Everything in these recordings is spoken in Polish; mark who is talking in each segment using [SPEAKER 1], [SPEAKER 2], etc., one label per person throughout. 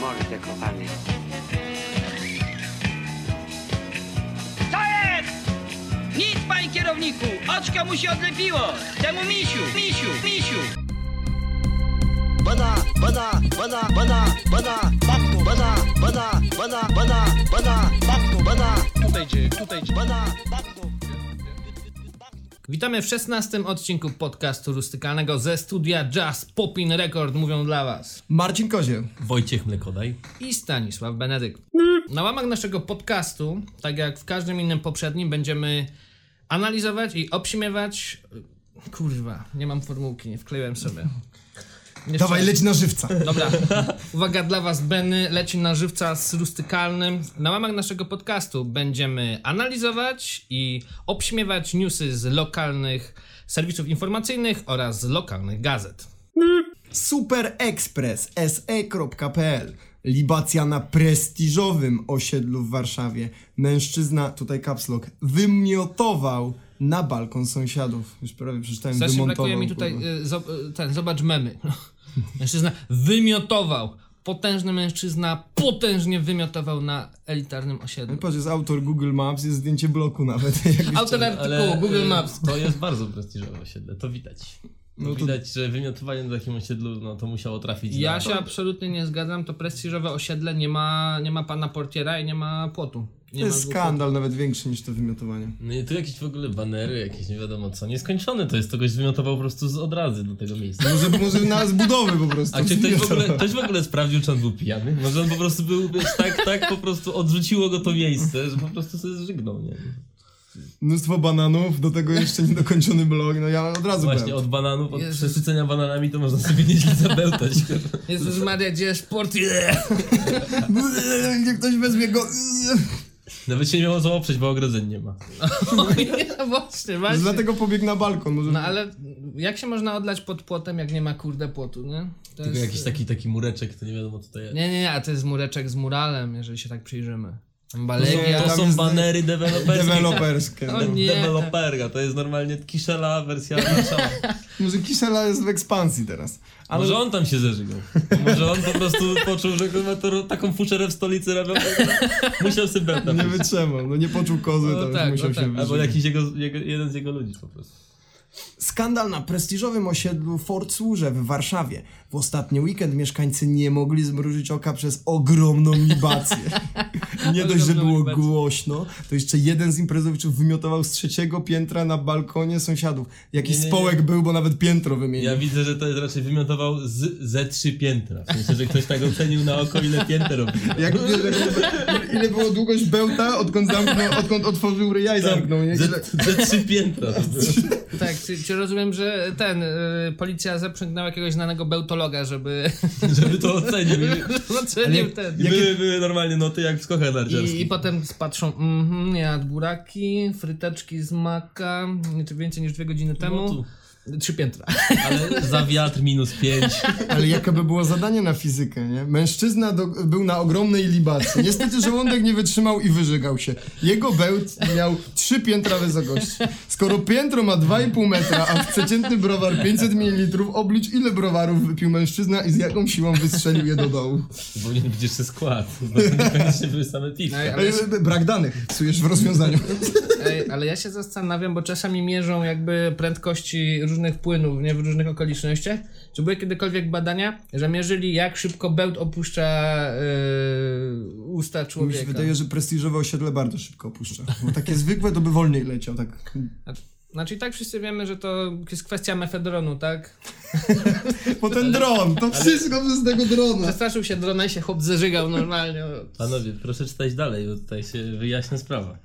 [SPEAKER 1] mordę kopany.
[SPEAKER 2] To jest! Nic, panie kierowniku! Oczko mu się odlepiło! Temu misiu, misiu, misiu!
[SPEAKER 3] bana bana bana bana bana bakno bana bana bana bana bana bakno bana
[SPEAKER 4] Tutaj gdzie, tutaj gdzie.
[SPEAKER 3] bana bakno
[SPEAKER 5] Witamy w 16 odcinku podcastu rustykalnego ze studia Jazz Popin Record mówią dla Was
[SPEAKER 6] Marcin Kozie.
[SPEAKER 4] Wojciech Mlekodaj.
[SPEAKER 5] i Stanisław Benedykt. Na łamach naszego podcastu, tak jak w każdym innym poprzednim, będziemy analizować i obśmiewać. Kurwa, nie mam formułki, nie wkleiłem sobie. Jeszcze-
[SPEAKER 6] Dawaj, leć na żywca.
[SPEAKER 5] Dobra, uwaga dla was, Benny leci na żywca z rustykalnym. Na łamach naszego podcastu będziemy analizować i obśmiewać newsy z lokalnych serwisów informacyjnych oraz z lokalnych gazet.
[SPEAKER 6] Superexpress E se.pl Libacja na prestiżowym osiedlu w Warszawie. Mężczyzna, tutaj kapslok, wymiotował na balkon sąsiadów. Już prawie przeczytałem,
[SPEAKER 5] Strasznie
[SPEAKER 6] wymontował.
[SPEAKER 5] brakuje mi tutaj,
[SPEAKER 6] kurwa.
[SPEAKER 5] y, zo- y, ten, zobacz memy. Mężczyzna wymiotował, potężny mężczyzna potężnie wymiotował na elitarnym
[SPEAKER 4] y-
[SPEAKER 5] osiedlu.
[SPEAKER 6] Patrz, jest autor Google Maps, jest zdjęcie bloku nawet. jakby
[SPEAKER 5] Autor artykułu Google Maps.
[SPEAKER 4] To jest bardzo prestiżowe osiedle, to widać.
[SPEAKER 6] No to-
[SPEAKER 4] Widać, że wymiotowanie na takim osiedlu, no to musiało trafić
[SPEAKER 5] Ja
[SPEAKER 4] na...
[SPEAKER 5] się absolutnie nie zgadzam, to prestiżowe osiedle nie ma, nie ma pana portiera i nie ma płotu. Nie
[SPEAKER 6] To
[SPEAKER 5] ma
[SPEAKER 6] jest
[SPEAKER 5] dwóch
[SPEAKER 6] skandal nawet większy niż to wymiotowanie.
[SPEAKER 4] No i tu jakieś w ogóle banery, jakieś nie wiadomo co. Nieskończone to jest, to goś wymiotował po prostu z odrazy do tego
[SPEAKER 5] No,
[SPEAKER 4] miejsca.
[SPEAKER 6] Może, może na z budowy po prostu.
[SPEAKER 4] A czy ktoś w, ogóle,
[SPEAKER 6] wymiotował.
[SPEAKER 4] ktoś w ogóle sprawdził, czy on był pijany? Może on po prostu był, wiesz, tak, tak po prostu odrzuciło go to miejsce, że po prostu sobie zżygnął, nie?
[SPEAKER 6] Mnóstwo bananów, do tego jeszcze niedokończony blog. No ja od razu
[SPEAKER 4] Właśnie
[SPEAKER 6] byłem.
[SPEAKER 4] od bananów, od
[SPEAKER 5] Jezus.
[SPEAKER 4] przesycenia bananami to można sobie nieźle zabełtać. kurwa.
[SPEAKER 5] płotów. Jezus Maria, gdzie jest portier?
[SPEAKER 6] Jak ktoś weźmie go...
[SPEAKER 4] Nawet się nie miało co oprzeć, bo ogrodzeń nie ma.
[SPEAKER 5] O nie, właśnie, właśnie.
[SPEAKER 6] Dlatego pobiegł na balkon. Może...
[SPEAKER 5] No ale jak się można odlać pod płotem, jak nie ma kurde płotu, nie? To
[SPEAKER 4] Tylko jakiś taki, taki mureczek, to nie wiadomo co to jest.
[SPEAKER 5] Nie, nie, nie, a to jest mureczek z muralem, jeżeli się tak przyjrzymy.
[SPEAKER 4] To,
[SPEAKER 5] Balegia,
[SPEAKER 4] No, to
[SPEAKER 6] tam
[SPEAKER 4] są
[SPEAKER 6] jest-
[SPEAKER 4] banery deweloperskie.
[SPEAKER 6] Deweloperskie.
[SPEAKER 5] O
[SPEAKER 6] no.
[SPEAKER 5] nie.
[SPEAKER 4] Deweloperka, to jest normalnie kiszela wersja Warszawa.
[SPEAKER 6] Może Kisela jest w ekspansji teraz. Ale
[SPEAKER 4] Może on tam się zeżygał. Może on po prostu poczuł, że kurwa, to, taką fuszerę w stolicy robią. Musiał sobie bełtać.
[SPEAKER 6] nie wytrzymał. No nie poczuł kozy,
[SPEAKER 5] No
[SPEAKER 6] to już
[SPEAKER 5] tak,
[SPEAKER 6] musiał
[SPEAKER 5] no
[SPEAKER 6] się
[SPEAKER 5] tak.
[SPEAKER 6] wyżyć.
[SPEAKER 4] Albo jakiś jego, jego, jeden z jego ludzi po prostu.
[SPEAKER 6] Skandal na prestiżowym osiedlu Fort Służe w Warszawie. W ostatni weekend mieszkańcy nie mogli zmrużyć oka przez ogromną libację. nie dość, że
[SPEAKER 5] Ogromną
[SPEAKER 6] było
[SPEAKER 5] libację.
[SPEAKER 6] głośno, to jeszcze jeden z imprezowiczów wymiotował z trzeciego piętra na balkonie sąsiadów. Jakiś
[SPEAKER 4] Nie, nie, nie.
[SPEAKER 6] społek był, bo nawet piętro wymienił.
[SPEAKER 4] Ja widzę, że to jest raczej wymiotował z, ze trzy piętra. W sensie, że ktoś tak ocenił na oko, ile pięter robi.
[SPEAKER 6] Jak, ile było długość bełta, odkąd, zamknął, odkąd otworzył ryja i zamknął, nie? Ile,
[SPEAKER 4] Ze, ze trzy piętra. To było.
[SPEAKER 5] tak, czy, czy rozumiem, że ten, y, policja zaprzęgnęła jakiegoś znanego bełtologa, żeby
[SPEAKER 4] Żeby to ocenił.
[SPEAKER 5] ocenił ten.
[SPEAKER 4] I były, były normalnie noty jak w skochach
[SPEAKER 5] I, I
[SPEAKER 4] narciarskich.
[SPEAKER 5] potem patrzą, mhm, nie jadł buraki, fryteczki z maka, nieco więcej niż dwie godziny
[SPEAKER 6] No
[SPEAKER 5] temu.
[SPEAKER 4] No tu.
[SPEAKER 5] Trzy piętra.
[SPEAKER 4] Ale za wiatr minus pięć.
[SPEAKER 6] Ale jakie by było zadanie na fizykę, nie? Mężczyzna do, był na ogromnej libacji. Niestety żołądek nie wytrzymał i wyżygał się. Jego bełt miał trzy piętra wysokości. Skoro piętro ma 2,5 metra, a przeciętny browar 500 ml, oblicz ile browarów wypił mężczyzna i z jaką siłą wystrzelił je do dołu.
[SPEAKER 4] Powinien być jeszcze skład, bo to niekoniecznie były same piwka.
[SPEAKER 5] Ej, ale,
[SPEAKER 6] Ej, Brak danych psujesz w rozwiązaniu.
[SPEAKER 5] ej, ale ja się zastanawiam, bo czasami mierzą jakby prędkości różnych płynów, nie w różnych okolicznościach. Czy były kiedykolwiek badania, że mierzyli jak szybko bełt opuszcza yy, usta
[SPEAKER 6] Mi się
[SPEAKER 5] człowieka?
[SPEAKER 6] wydaje, że prestiżowe osiedle bardzo szybko opuszcza. Bo takie zwykłe to by wolniej leciał, tak.
[SPEAKER 5] Znaczy i tak wszyscy wiemy, że to jest kwestia mefedronu, tak?
[SPEAKER 6] Bo ten dron, to wszystko przez tego drona.
[SPEAKER 5] Przestraszył się drona i się chłop zeżygał normalnie.
[SPEAKER 4] Panowie, proszę czytać dalej, bo tutaj się wyjaśnia sprawa.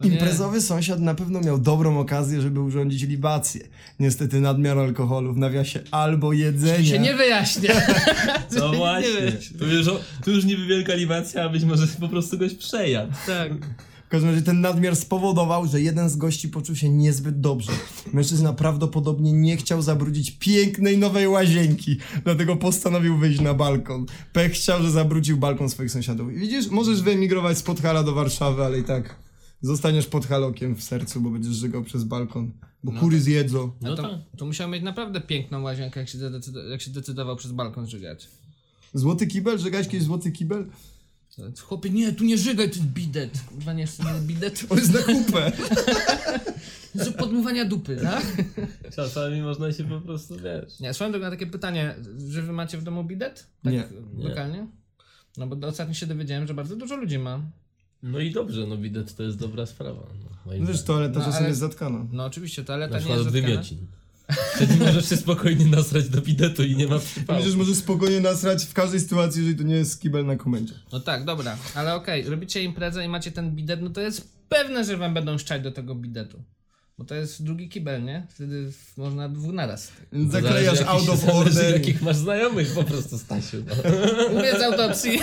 [SPEAKER 5] Nie.
[SPEAKER 6] Imprezowy sąsiad na pewno miał dobrą okazję, żeby urządzić libację. Niestety nadmiar alkoholu w nawiasie albo jedzenie.
[SPEAKER 5] Się nie wyjaśnia.
[SPEAKER 4] No
[SPEAKER 5] Nie
[SPEAKER 4] właśnie,
[SPEAKER 5] wiem.
[SPEAKER 4] tu już, tu już niby wielka libacja, a być może po prostu goś przejadł.
[SPEAKER 5] Tak.
[SPEAKER 6] W każdym razie ten nadmiar spowodował, że jeden z gości poczuł się niezbyt dobrze. Mężczyzna prawdopodobnie nie chciał zabrudzić pięknej nowej łazienki, dlatego postanowił wyjść na balkon. Pech chciał, że zabrudził balkon swoich sąsiadów. I widzisz, możesz wyemigrować z Podhala do Warszawy, ale i tak zostaniesz Podhalokiem w sercu, bo będziesz żygał przez balkon, bo kury zjedzą.
[SPEAKER 4] No
[SPEAKER 5] to,
[SPEAKER 4] tak.
[SPEAKER 5] to musiał mieć naprawdę piękną łazienkę, jak się, decydu- jak się decydował przez balkon żygać.
[SPEAKER 6] Złoty kibel? Żegałeś kiedyś złoty kibel?
[SPEAKER 5] Chłopie, nie, tu nie żygaj, to jest bidet. Kurwa, nie jest bidet.
[SPEAKER 6] To jest na kupę.
[SPEAKER 5] Z podmywania dupy, tak?
[SPEAKER 4] Czasami można się po prostu, wiesz...
[SPEAKER 5] Nie, swoją drogą na takie pytanie, że wy macie w domu bidet? Tak
[SPEAKER 6] Nie.
[SPEAKER 5] lokalnie? No bo ostatnio się dowiedziałem, że bardzo dużo ludzi ma.
[SPEAKER 4] No i dobrze, no bidet to jest dobra sprawa. No, moim
[SPEAKER 6] Wiesz,
[SPEAKER 4] zdaniem.
[SPEAKER 6] toaleta
[SPEAKER 5] No,
[SPEAKER 6] czasem
[SPEAKER 5] ale-
[SPEAKER 6] jest zatkana.
[SPEAKER 5] No oczywiście, toaleta
[SPEAKER 4] Na
[SPEAKER 5] nie
[SPEAKER 4] przykład
[SPEAKER 5] jest
[SPEAKER 4] od
[SPEAKER 5] zatkana.
[SPEAKER 4] wymiocin. Wtedy możesz się spokojnie nasrać do bidetu i nie ma przypału.
[SPEAKER 6] Przecież możesz spokojnie nasrać w każdej sytuacji, jeżeli to nie jest kibel na komendzie.
[SPEAKER 5] No tak, dobra, ale okej, robicie imprezę i macie ten bidet, no to jest pewne, że wam będą szczać do tego bidetu. Bo to jest drugi kibel, nie? Wtedy w- można dwóch naraz.
[SPEAKER 6] Zaklejasz
[SPEAKER 4] Zależy,
[SPEAKER 6] out
[SPEAKER 4] jakich-
[SPEAKER 6] of
[SPEAKER 4] zależy,
[SPEAKER 6] order.
[SPEAKER 4] jakich masz znajomych po prostu, Stasiu. No.
[SPEAKER 5] Mówię z autopsji.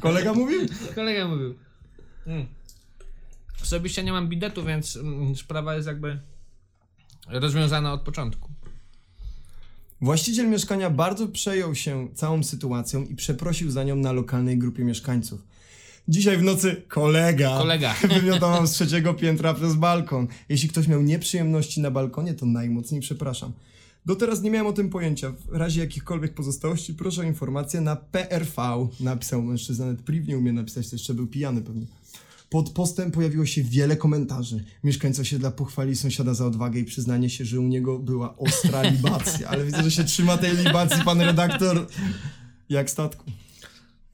[SPEAKER 6] Kolega mówił?
[SPEAKER 5] Kolega mówił. Mm. Osobiście nie mam bidetu, więc mm, sprawa jest jakby rozwiązana od początku.
[SPEAKER 6] Właściciel mieszkania bardzo przejął się całą sytuacją i przeprosił za nią na lokalnej grupie mieszkańców. Dzisiaj w nocy kolega,
[SPEAKER 5] Kolega.
[SPEAKER 6] wymiotował z trzeciego piętra przez balkon. Jeśli ktoś miał nieprzyjemności na balkonie, to najmocniej przepraszam. Do teraz nie miałem o tym pojęcia. W razie jakichkolwiek pozostałości proszę o informację na PRV. Napisał mężczyzna, nawet priv nie umie napisać, to jeszcze był pijany pewnie. Pod postem pojawiło się wiele komentarzy. Mieszkańcy osiedla pochwali sąsiada za odwagę i przyznanie się, że u niego była ostra libacja. Ale widzę, że się trzyma tej libacji pan redaktor jak statku.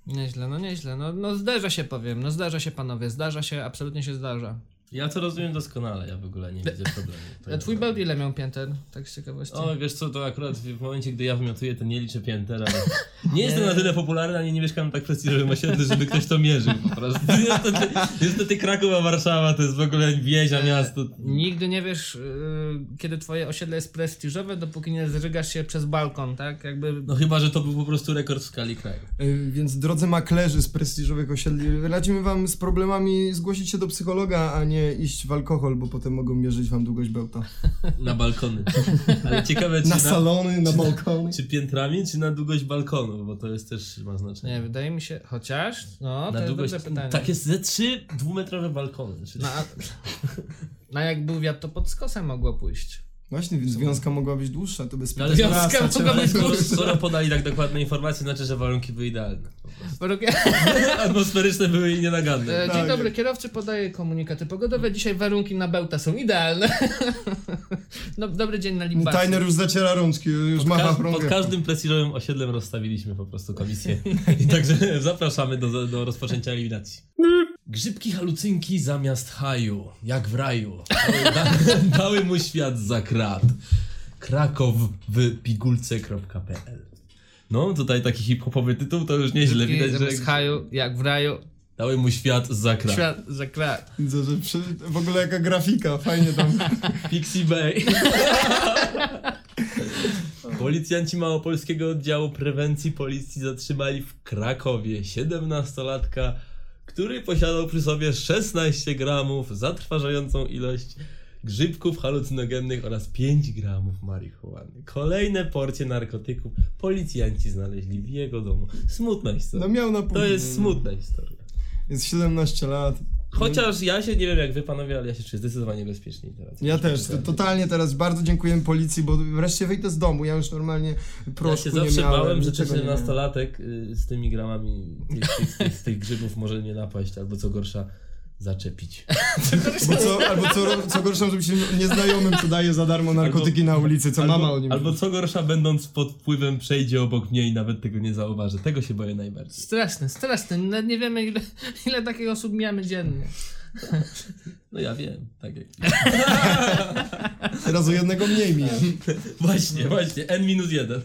[SPEAKER 5] Nieźle, no nieźle. No, no zdarza się, powiem. No zdarza się, panowie. Zdarza się, absolutnie się zdarza.
[SPEAKER 4] Ja to rozumiem doskonale, ja w ogóle nie widzę problemu. To
[SPEAKER 5] A E, twój
[SPEAKER 4] jest-
[SPEAKER 5] bełt ile miał pięter? Tak z ciekawości.
[SPEAKER 4] O, wiesz co, to akurat w momencie, gdy ja wymiotuję, to nie liczę pięter, ale nie jestem na tyle popularny, ani nie mieszkam na tak prestiżowym osiedlu, żeby ktoś to mierzył po prostu. Niestety, niestety Kraków, a Warszawa to jest w ogóle wieźa miasto.
[SPEAKER 5] Nigdy nie wiesz, yy, kiedy twoje osiedle jest prestiżowe, dopóki nie zrygasz się przez balkon, tak? Jakby...
[SPEAKER 4] No chyba, że to był po prostu rekord w skali kraju.
[SPEAKER 6] Yy, Więc drodzy maklerzy z prestiżowych osiedli, radzimy wam z problemami zgłosić się do psychologa, a nie iść w alkohol, bo potem mogą mierzyć wam długość bełta.
[SPEAKER 4] Na balkony. Ale ciekawe, czy
[SPEAKER 6] Znaczy, Na
[SPEAKER 4] na,
[SPEAKER 6] salony, na balkony.
[SPEAKER 4] czy piętrami, czy na długość balkonu, bo to jest też ma znaczenie.
[SPEAKER 5] no Nie, wydaje mi się... Chociaż? No,
[SPEAKER 4] na
[SPEAKER 5] to jest
[SPEAKER 4] długość.
[SPEAKER 5] dobre pytanie.
[SPEAKER 4] Tak jest ze trzy dwumetrowe balkony. Czyli...
[SPEAKER 5] No, a... no jak był wiatr, to pod skosem mogło pójść.
[SPEAKER 6] Właśnie, więc związka mogła być dłuższa, to bez
[SPEAKER 4] No,
[SPEAKER 6] pytań.
[SPEAKER 5] związka
[SPEAKER 6] Prasa,
[SPEAKER 5] mogła
[SPEAKER 6] trzeba-
[SPEAKER 5] być dłuższa.
[SPEAKER 4] skoro, skoro podali tak dokładne informacje, znaczy, że warunki były idealne.
[SPEAKER 5] Według-
[SPEAKER 4] Atmosferyczne były i
[SPEAKER 5] E,
[SPEAKER 4] nienaganne.
[SPEAKER 6] Tak.
[SPEAKER 5] Dzień dobry, kierowcy podaje komunikaty pogodowe. Dzisiaj warunki na bełta są idealne. No, dobry dzień na Libacji.
[SPEAKER 6] Tajner już zaciera rączki, już macha
[SPEAKER 4] Każ, pod
[SPEAKER 6] prągiem.
[SPEAKER 4] każdym prestiżowym osiedlem rozstawiliśmy po prostu komisję. I także zapraszamy do, do rozpoczęcia eliminacji. Grzybki halucynki zamiast haju, jak w raju. Da, dały mu świat za krat. Krakow w pigulce.pl No, tutaj taki hip-hopowy tytuł, to już nieźle
[SPEAKER 5] Taki
[SPEAKER 4] widać,
[SPEAKER 5] zamiast
[SPEAKER 4] że Tak.
[SPEAKER 5] haju, jak w raju,
[SPEAKER 4] dały mu świat za krat.
[SPEAKER 5] świat za krat.
[SPEAKER 6] Widzę, że przy... w ogóle jaka grafika, fajnie tam.
[SPEAKER 4] Pixie Bay. Policjanci Małopolskiego Oddziału Prewencji Policji zatrzymali w Krakowie 17-latka, który posiadał przy sobie 16 gramów zatrważającą ilość grzybków halucynogennych oraz 5 gramów marihuany. Kolejne porcje narkotyków policjanci znaleźli w jego domu. Smutna historia.
[SPEAKER 6] No miał na
[SPEAKER 4] to
[SPEAKER 6] później.
[SPEAKER 4] jest smutna historia.
[SPEAKER 6] Jest 17 lat.
[SPEAKER 4] Chociaż ja się nie wiem jak wy panowie, ale ja się czuję zdecydowanie bezpieczniej teraz.
[SPEAKER 6] Ja też, to- totalnie teraz bardzo dziękujemy policji, bo wreszcie wyjdę z domu, ja już normalnie
[SPEAKER 4] Ja
[SPEAKER 6] proszę
[SPEAKER 4] się zawsze
[SPEAKER 6] nie miałem,
[SPEAKER 4] bałem, że
[SPEAKER 6] niczego nie miałem.
[SPEAKER 4] 14-latek y, z tymi gramami tych, tych, tych, z tych grzybów może nie napaść, albo co gorsza, zaczepić.
[SPEAKER 6] Bo co, albo co, co gorsza, żeby się nieznajomym tu daje za darmo narkotyki na ulicy, co
[SPEAKER 4] albo,
[SPEAKER 6] mama o nim
[SPEAKER 4] Albo
[SPEAKER 6] mówi.
[SPEAKER 4] co gorsza, będąc pod wpływem, przejdzie obok mnie i nawet tego nie zauważy. Tego się boję najbardziej.
[SPEAKER 5] Straszny, straszny. Nawet nie wiemy, ile, ile takich osób mijamy dziennie.
[SPEAKER 4] No ja wiem, tak jak.
[SPEAKER 6] Teraz o jednego mniej mi.
[SPEAKER 4] Właśnie, właśnie, N-1.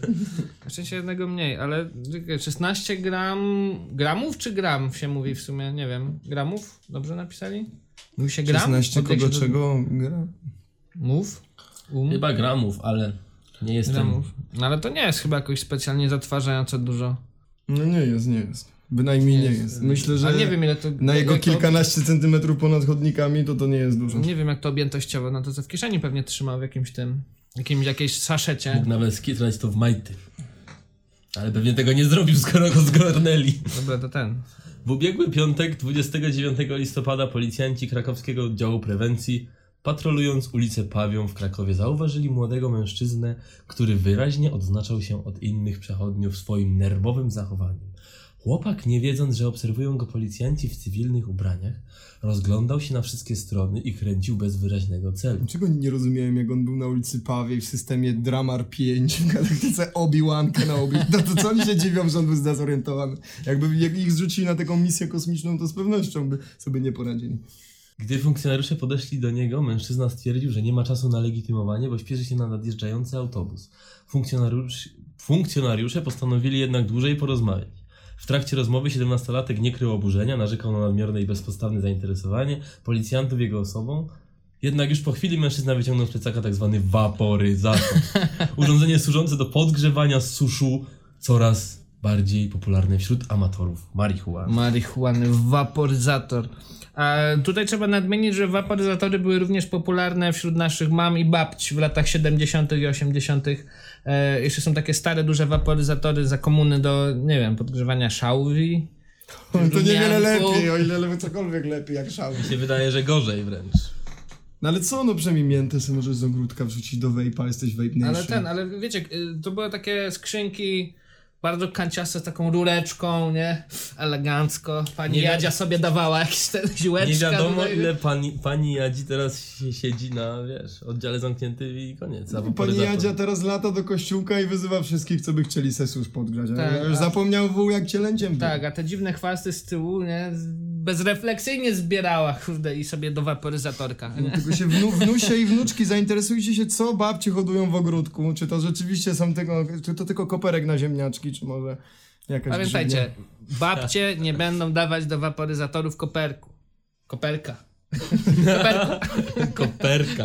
[SPEAKER 5] W sensie jednego mniej, ale czekaj, 16 gram... Gramów czy gram się mówi w sumie? Nie wiem. Gramów? Dobrze napisali? Mówi się gram?
[SPEAKER 6] 16
[SPEAKER 5] Oddaje
[SPEAKER 6] kogo
[SPEAKER 5] się do-
[SPEAKER 6] czego gra?
[SPEAKER 5] Mów? Um?
[SPEAKER 4] Chyba gramów, ale nie jestem.
[SPEAKER 5] Gramów. No ale to nie jest chyba jakoś specjalnie zatrważające dużo.
[SPEAKER 6] No nie jest, nie jest. Bynajmniej nie jest. Myślę,
[SPEAKER 5] Ale
[SPEAKER 6] że
[SPEAKER 5] nie wiem ile to...
[SPEAKER 6] na jego
[SPEAKER 5] jak to-
[SPEAKER 6] kilkanaście centymetrów ponad chodnikami to to nie jest dużo.
[SPEAKER 5] Nie wiem jak to objętościowo, no to co w kieszeni pewnie trzymał w jakimś tym, jakimś, jakiejś no saszecie.
[SPEAKER 4] Mógł nawet skitrać to w majty. Ale pewnie tego nie zrobił, skoro go zgarnęli.
[SPEAKER 5] Dobra, to ten.
[SPEAKER 4] W ubiegły piątek, 29 listopada, policjanci krakowskiego oddziału prewencji Patrolując ulicę Pawią w Krakowie zauważyli młodego mężczyznę, który wyraźnie odznaczał się od innych przechodniów swoim nerwowym zachowaniem. Chłopak, nie wiedząc, że obserwują go policjanci w cywilnych ubraniach, rozglądał się na wszystkie strony i kręcił bez wyraźnego celu.
[SPEAKER 6] Czego nie rozumiałem, jak on był na ulicy Pawiej w systemie Dramar 5, w galaktyce Obi-Wan Kenobi. No to co oni się dziwią, że on był zdezorientowany? Jakby jak ich zrzucili na taką misję kosmiczną, to z pewnością by sobie nie poradzili.
[SPEAKER 4] Gdy funkcjonariusze podeszli do niego, mężczyzna stwierdził, że nie ma czasu na legitymowanie, bo śpieszy się na nadjeżdżający autobus. Funkcjonariusz, funkcjonariusze postanowili jednak dłużej porozmawiać. W trakcie rozmowy 17-latek nie krył oburzenia, narzekał na nadmierne i bezpodstawne zainteresowanie policjantów jego osobą. Jednak już po chwili mężczyzna wyciągnął z plecaka tzw. waporyzator. Urządzenie służące do podgrzewania suszu, coraz bardziej popularne wśród amatorów marihuany.
[SPEAKER 5] Marihuany, waporyzator. A tutaj trzeba nadmienić, że waporyzatory były również popularne wśród naszych mam i babci w latach 70. i 80. E, jeszcze są takie stare, duże waporyzatory za komuny do, nie wiem, podgrzewania szałwi.
[SPEAKER 6] To niewiele
[SPEAKER 5] Rumianku.
[SPEAKER 6] lepiej, o ile lepiej, cokolwiek lepiej jak szał.
[SPEAKER 4] Mi się wydaje, że gorzej wręcz.
[SPEAKER 6] No ale co, no przynajmniej miętę sobie możesz z ogródka wrzucić do vape'a, jesteś vape nation.
[SPEAKER 5] Ale ten, ale wiecie, y, to były takie skrzynki bardzo kanciaste, z taką rureczką, nie? Elegancko. Pani
[SPEAKER 4] Nie wi-
[SPEAKER 5] Jadzia sobie dawała jakieś te ziółeczka.
[SPEAKER 4] Nie wiadomo,
[SPEAKER 5] tutaj.
[SPEAKER 4] ile pani, pani Jadzi teraz się siedzi na, wiesz, oddziale zamknięty i koniec. a
[SPEAKER 6] Pani
[SPEAKER 4] popularyzator.
[SPEAKER 6] Jadzia teraz lata do kościółka i wyzywa wszystkich, co by chcieli sesusz podgrać.
[SPEAKER 5] Tak,
[SPEAKER 6] ja już
[SPEAKER 5] a-
[SPEAKER 6] zapomniał wół, jak cielęciem był.
[SPEAKER 5] Tak, a te dziwne chwasty z tyłu, nie? Z- Bezrefleksyjnie zbierała, kurde, i sobie do waporyzatorka. Nie?
[SPEAKER 6] No Tylko się wnu, wnusie i wnuczki zainteresujcie się, co babci hodują w ogródku. Czy to rzeczywiście są tylko, czy to tylko koperek na ziemniaczki, czy może jakaś
[SPEAKER 5] Pamiętajcie,
[SPEAKER 6] grzybnia?
[SPEAKER 4] Tak.
[SPEAKER 5] babcie nie będą dawać do waporyzatorów koperku. Koperka. Koperka.
[SPEAKER 4] Koperka.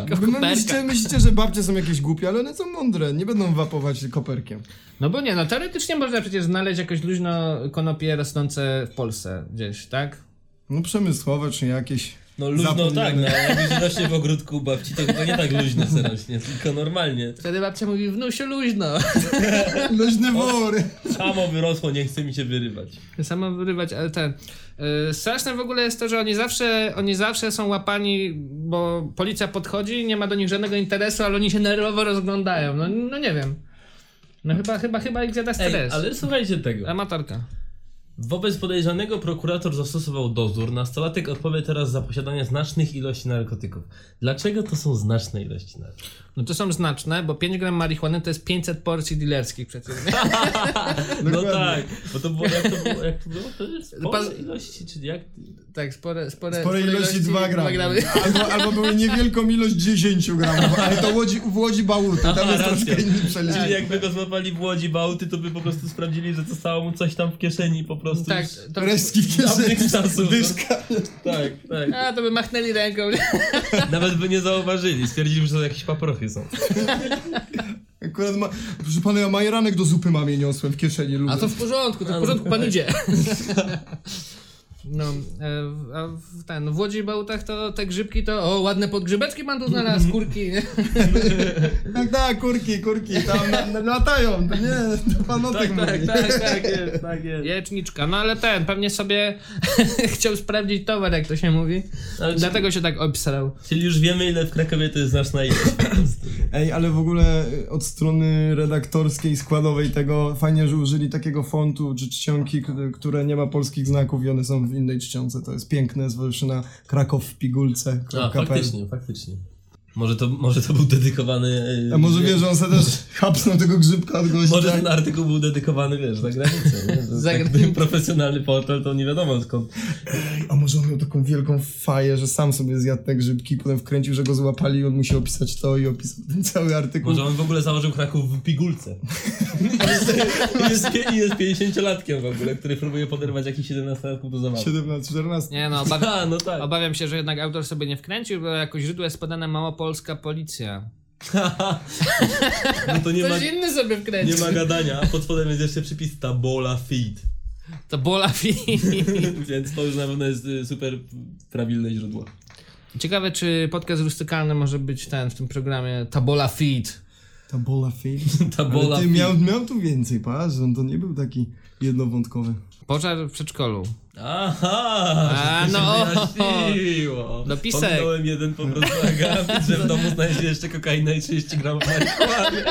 [SPEAKER 6] Bo my
[SPEAKER 5] koperka.
[SPEAKER 6] No, myślicie, myślicie, że babcie są jakieś głupie, ale one są mądre. Nie będą wapować koperkiem.
[SPEAKER 5] No bo nie, no teoretycznie można przecież znaleźć jakoś luźno konopie rosnące w Polsce gdzieś, tak?
[SPEAKER 6] No przemysłowe, czy jakieś...
[SPEAKER 4] No luźno
[SPEAKER 6] Zapomniane.
[SPEAKER 4] tak, no ale jak już rośnie w ogródku u babci, to chyba nie tak luźno se rośnie, tylko normalnie.
[SPEAKER 5] Wtedy babcia mówi, wnusiu, luźno.
[SPEAKER 6] Luźne wory.
[SPEAKER 4] Samo wyrosło, nie chce mi się wyrywać.
[SPEAKER 5] Samo wyrywać, ale ten. Yy, straszne w ogóle jest to, że oni zawsze, oni zawsze są łapani, bo policja podchodzi, nie ma do nich żadnego interesu, ale oni się nerwowo rozglądają. No, no nie wiem. No chyba, chyba, chyba ich zjada
[SPEAKER 4] Ej,
[SPEAKER 5] stres.
[SPEAKER 4] ale słuchajcie tego.
[SPEAKER 5] Amatorka.
[SPEAKER 4] Wobec podejrzanego prokurator zastosował dozór. Nastolatek odpowie teraz za posiadanie znacznych ilości narkotyków. Dlaczego to są znaczne ilości narkotyków?
[SPEAKER 5] No to są znaczne, bo 5 gram marihuany to jest 500 porcji dealerskich przecież. nie?
[SPEAKER 4] No
[SPEAKER 6] Dokładnie.
[SPEAKER 4] tak, bo to było, jak to było, jak to było? To jest
[SPEAKER 5] Pan-
[SPEAKER 4] spore ilości, czyli jak...
[SPEAKER 5] tak, spore, spore,
[SPEAKER 6] Spore ilości 2
[SPEAKER 5] dwa
[SPEAKER 6] gramy. Albo, albo były niewielką ilość 10 gramów, ale to łodzi, w Łodzi Bałuty, tam
[SPEAKER 4] Aha,
[SPEAKER 6] jest
[SPEAKER 4] racja. Tak.
[SPEAKER 6] troszkę inny przelicznik.
[SPEAKER 4] Czyli jakby go złapali w Łodzi Bałty, to by po prostu sprawdzili, że zostało mu coś tam w kieszeni po prostu.
[SPEAKER 5] Tak,
[SPEAKER 4] już
[SPEAKER 5] to,
[SPEAKER 6] Resztki w kieszeni,
[SPEAKER 4] dawnych czasów.
[SPEAKER 6] dyszka.
[SPEAKER 4] tak, tak.
[SPEAKER 5] a, to by machnęli ręką. nie?
[SPEAKER 4] Nawet by nie zauważyli, stwierdzili, że to jakieś paprochy są.
[SPEAKER 6] Akurat ma... Proszę pana, ja majeranek do zupy mamie niosłem w kieszeni, lubię.
[SPEAKER 5] A to w porządku, to w porządku, pan idzie. No, e, w- a w ten, w Łodzi i Bałtach to te grzybki to, o, ładne podgrzybeczki pan tu znalazł, skórki, nie?
[SPEAKER 6] Tak, tak, kurki, kurki, tam na, na, latają, to nie, to pan o tych mówi.
[SPEAKER 4] tak, tak jest, tak jest.
[SPEAKER 5] Jeczniczka, no ale ten, pewnie sobie chciał sprawdzić towar, jak to się mówi,
[SPEAKER 4] Ale czy-
[SPEAKER 5] dlatego się tak obsrał.
[SPEAKER 4] Czyli już wiemy, ile w Krakowie to jest znaczna ilość.
[SPEAKER 6] Ej, ale w ogóle y, od strony redaktorskiej, składowej tego, fajnie, że użyli takiego fontu czy czcionki, k- które nie ma polskich znaków i one są w innej czcionce, to jest piękne, zwłaszcza na Kraków w pigulce.
[SPEAKER 4] A, faktycznie, faktycznie. Może to, może to był dedykowany... e,
[SPEAKER 6] A może wie, że on sobie też hapsnął tego grzybka od gościa.
[SPEAKER 4] Może ten artykuł był dedykowany, wiesz, za granicę. nie? To jest
[SPEAKER 5] Za
[SPEAKER 4] tak
[SPEAKER 5] granicę.
[SPEAKER 4] profesjonalny portal, to nie wiadomo skąd.
[SPEAKER 6] A może on miał taką wielką faję, że sam sobie zjadł te grzybki, potem wkręcił, że go złapali i on musi opisać to i opisał ten cały artykuł.
[SPEAKER 4] Może on w ogóle założył Kraków w pigulce. I jest, i jest 50-latkiem w ogóle, który próbuje poderwać jakichś 17-latków do zabawy.
[SPEAKER 6] 17, 14.
[SPEAKER 5] Nie no, obawiam,
[SPEAKER 4] A, no tak.
[SPEAKER 5] obawiam się, że jednak autor sobie nie wkręcił, bo jako źródło jest podana małopolska policja.
[SPEAKER 4] No to nie ma,
[SPEAKER 5] Ktoś inny sobie
[SPEAKER 4] nie
[SPEAKER 5] wkręcił.
[SPEAKER 4] ma gadania. a Pod spodem jest jeszcze przypis Tabola Feed.
[SPEAKER 5] To bola fi.
[SPEAKER 4] Więc to już na pewno jest y, super prawilne źródło.
[SPEAKER 5] Ciekawe, czy podcast rustykalny może być ten w tym programie Tabola Feed.
[SPEAKER 6] Ta bola film.
[SPEAKER 4] Tabola
[SPEAKER 6] Ale ty
[SPEAKER 4] Feed.
[SPEAKER 6] miał, miał tu więcej, patrz, on to nie był taki Jednowątkowy.
[SPEAKER 5] Pożar w przedszkolu.
[SPEAKER 4] Aha,
[SPEAKER 5] A,
[SPEAKER 4] A, się
[SPEAKER 5] no.
[SPEAKER 4] no. wyjaśniło.
[SPEAKER 5] Dopisek.
[SPEAKER 4] Pominąłem jeden po prostu akapit, że w domu znajdzie jeszcze kokaina i 30 gramów marihuany.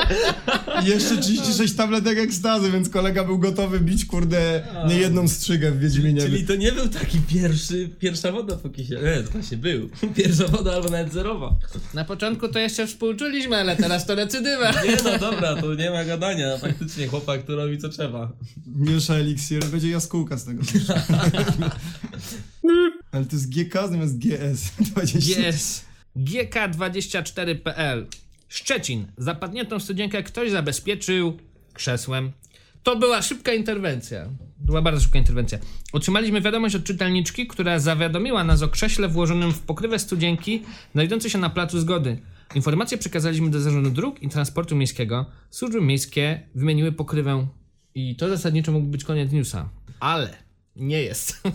[SPEAKER 6] I Jeszcze 36 tabletek ekstazy, więc kolega był gotowy bić, kurde, nie jedną strzygę w Wiedźminie.
[SPEAKER 4] Czyli to nie był taki pierwszy, pierwsza woda po kisie. Nie, to właśnie był. Pierwsza woda albo nawet zerowa.
[SPEAKER 5] Na początku to jeszcze współczuliśmy, ale teraz to recydywa.
[SPEAKER 4] Nie no, dobra, to nie ma gadania. Faktycznie chłopak, który robi co trzeba.
[SPEAKER 6] Miesza eliksir, będzie jaskółka z tego. Ale to jest GK zamiast GS. 20.
[SPEAKER 5] Yes. GK24.pl Szczecin. Zapadniętą studzienkę ktoś zabezpieczył krzesłem. To była szybka interwencja. Była bardzo szybka interwencja. Otrzymaliśmy wiadomość od czytelniczki, która zawiadomiła nas o krześle włożonym w pokrywę studzienki znajdującej się na placu zgody. Informację przekazaliśmy do Zarządu Dróg i Transportu Miejskiego. Służby miejskie wymieniły pokrywę i to zasadniczo mógł być koniec newsa. Ale nie jest.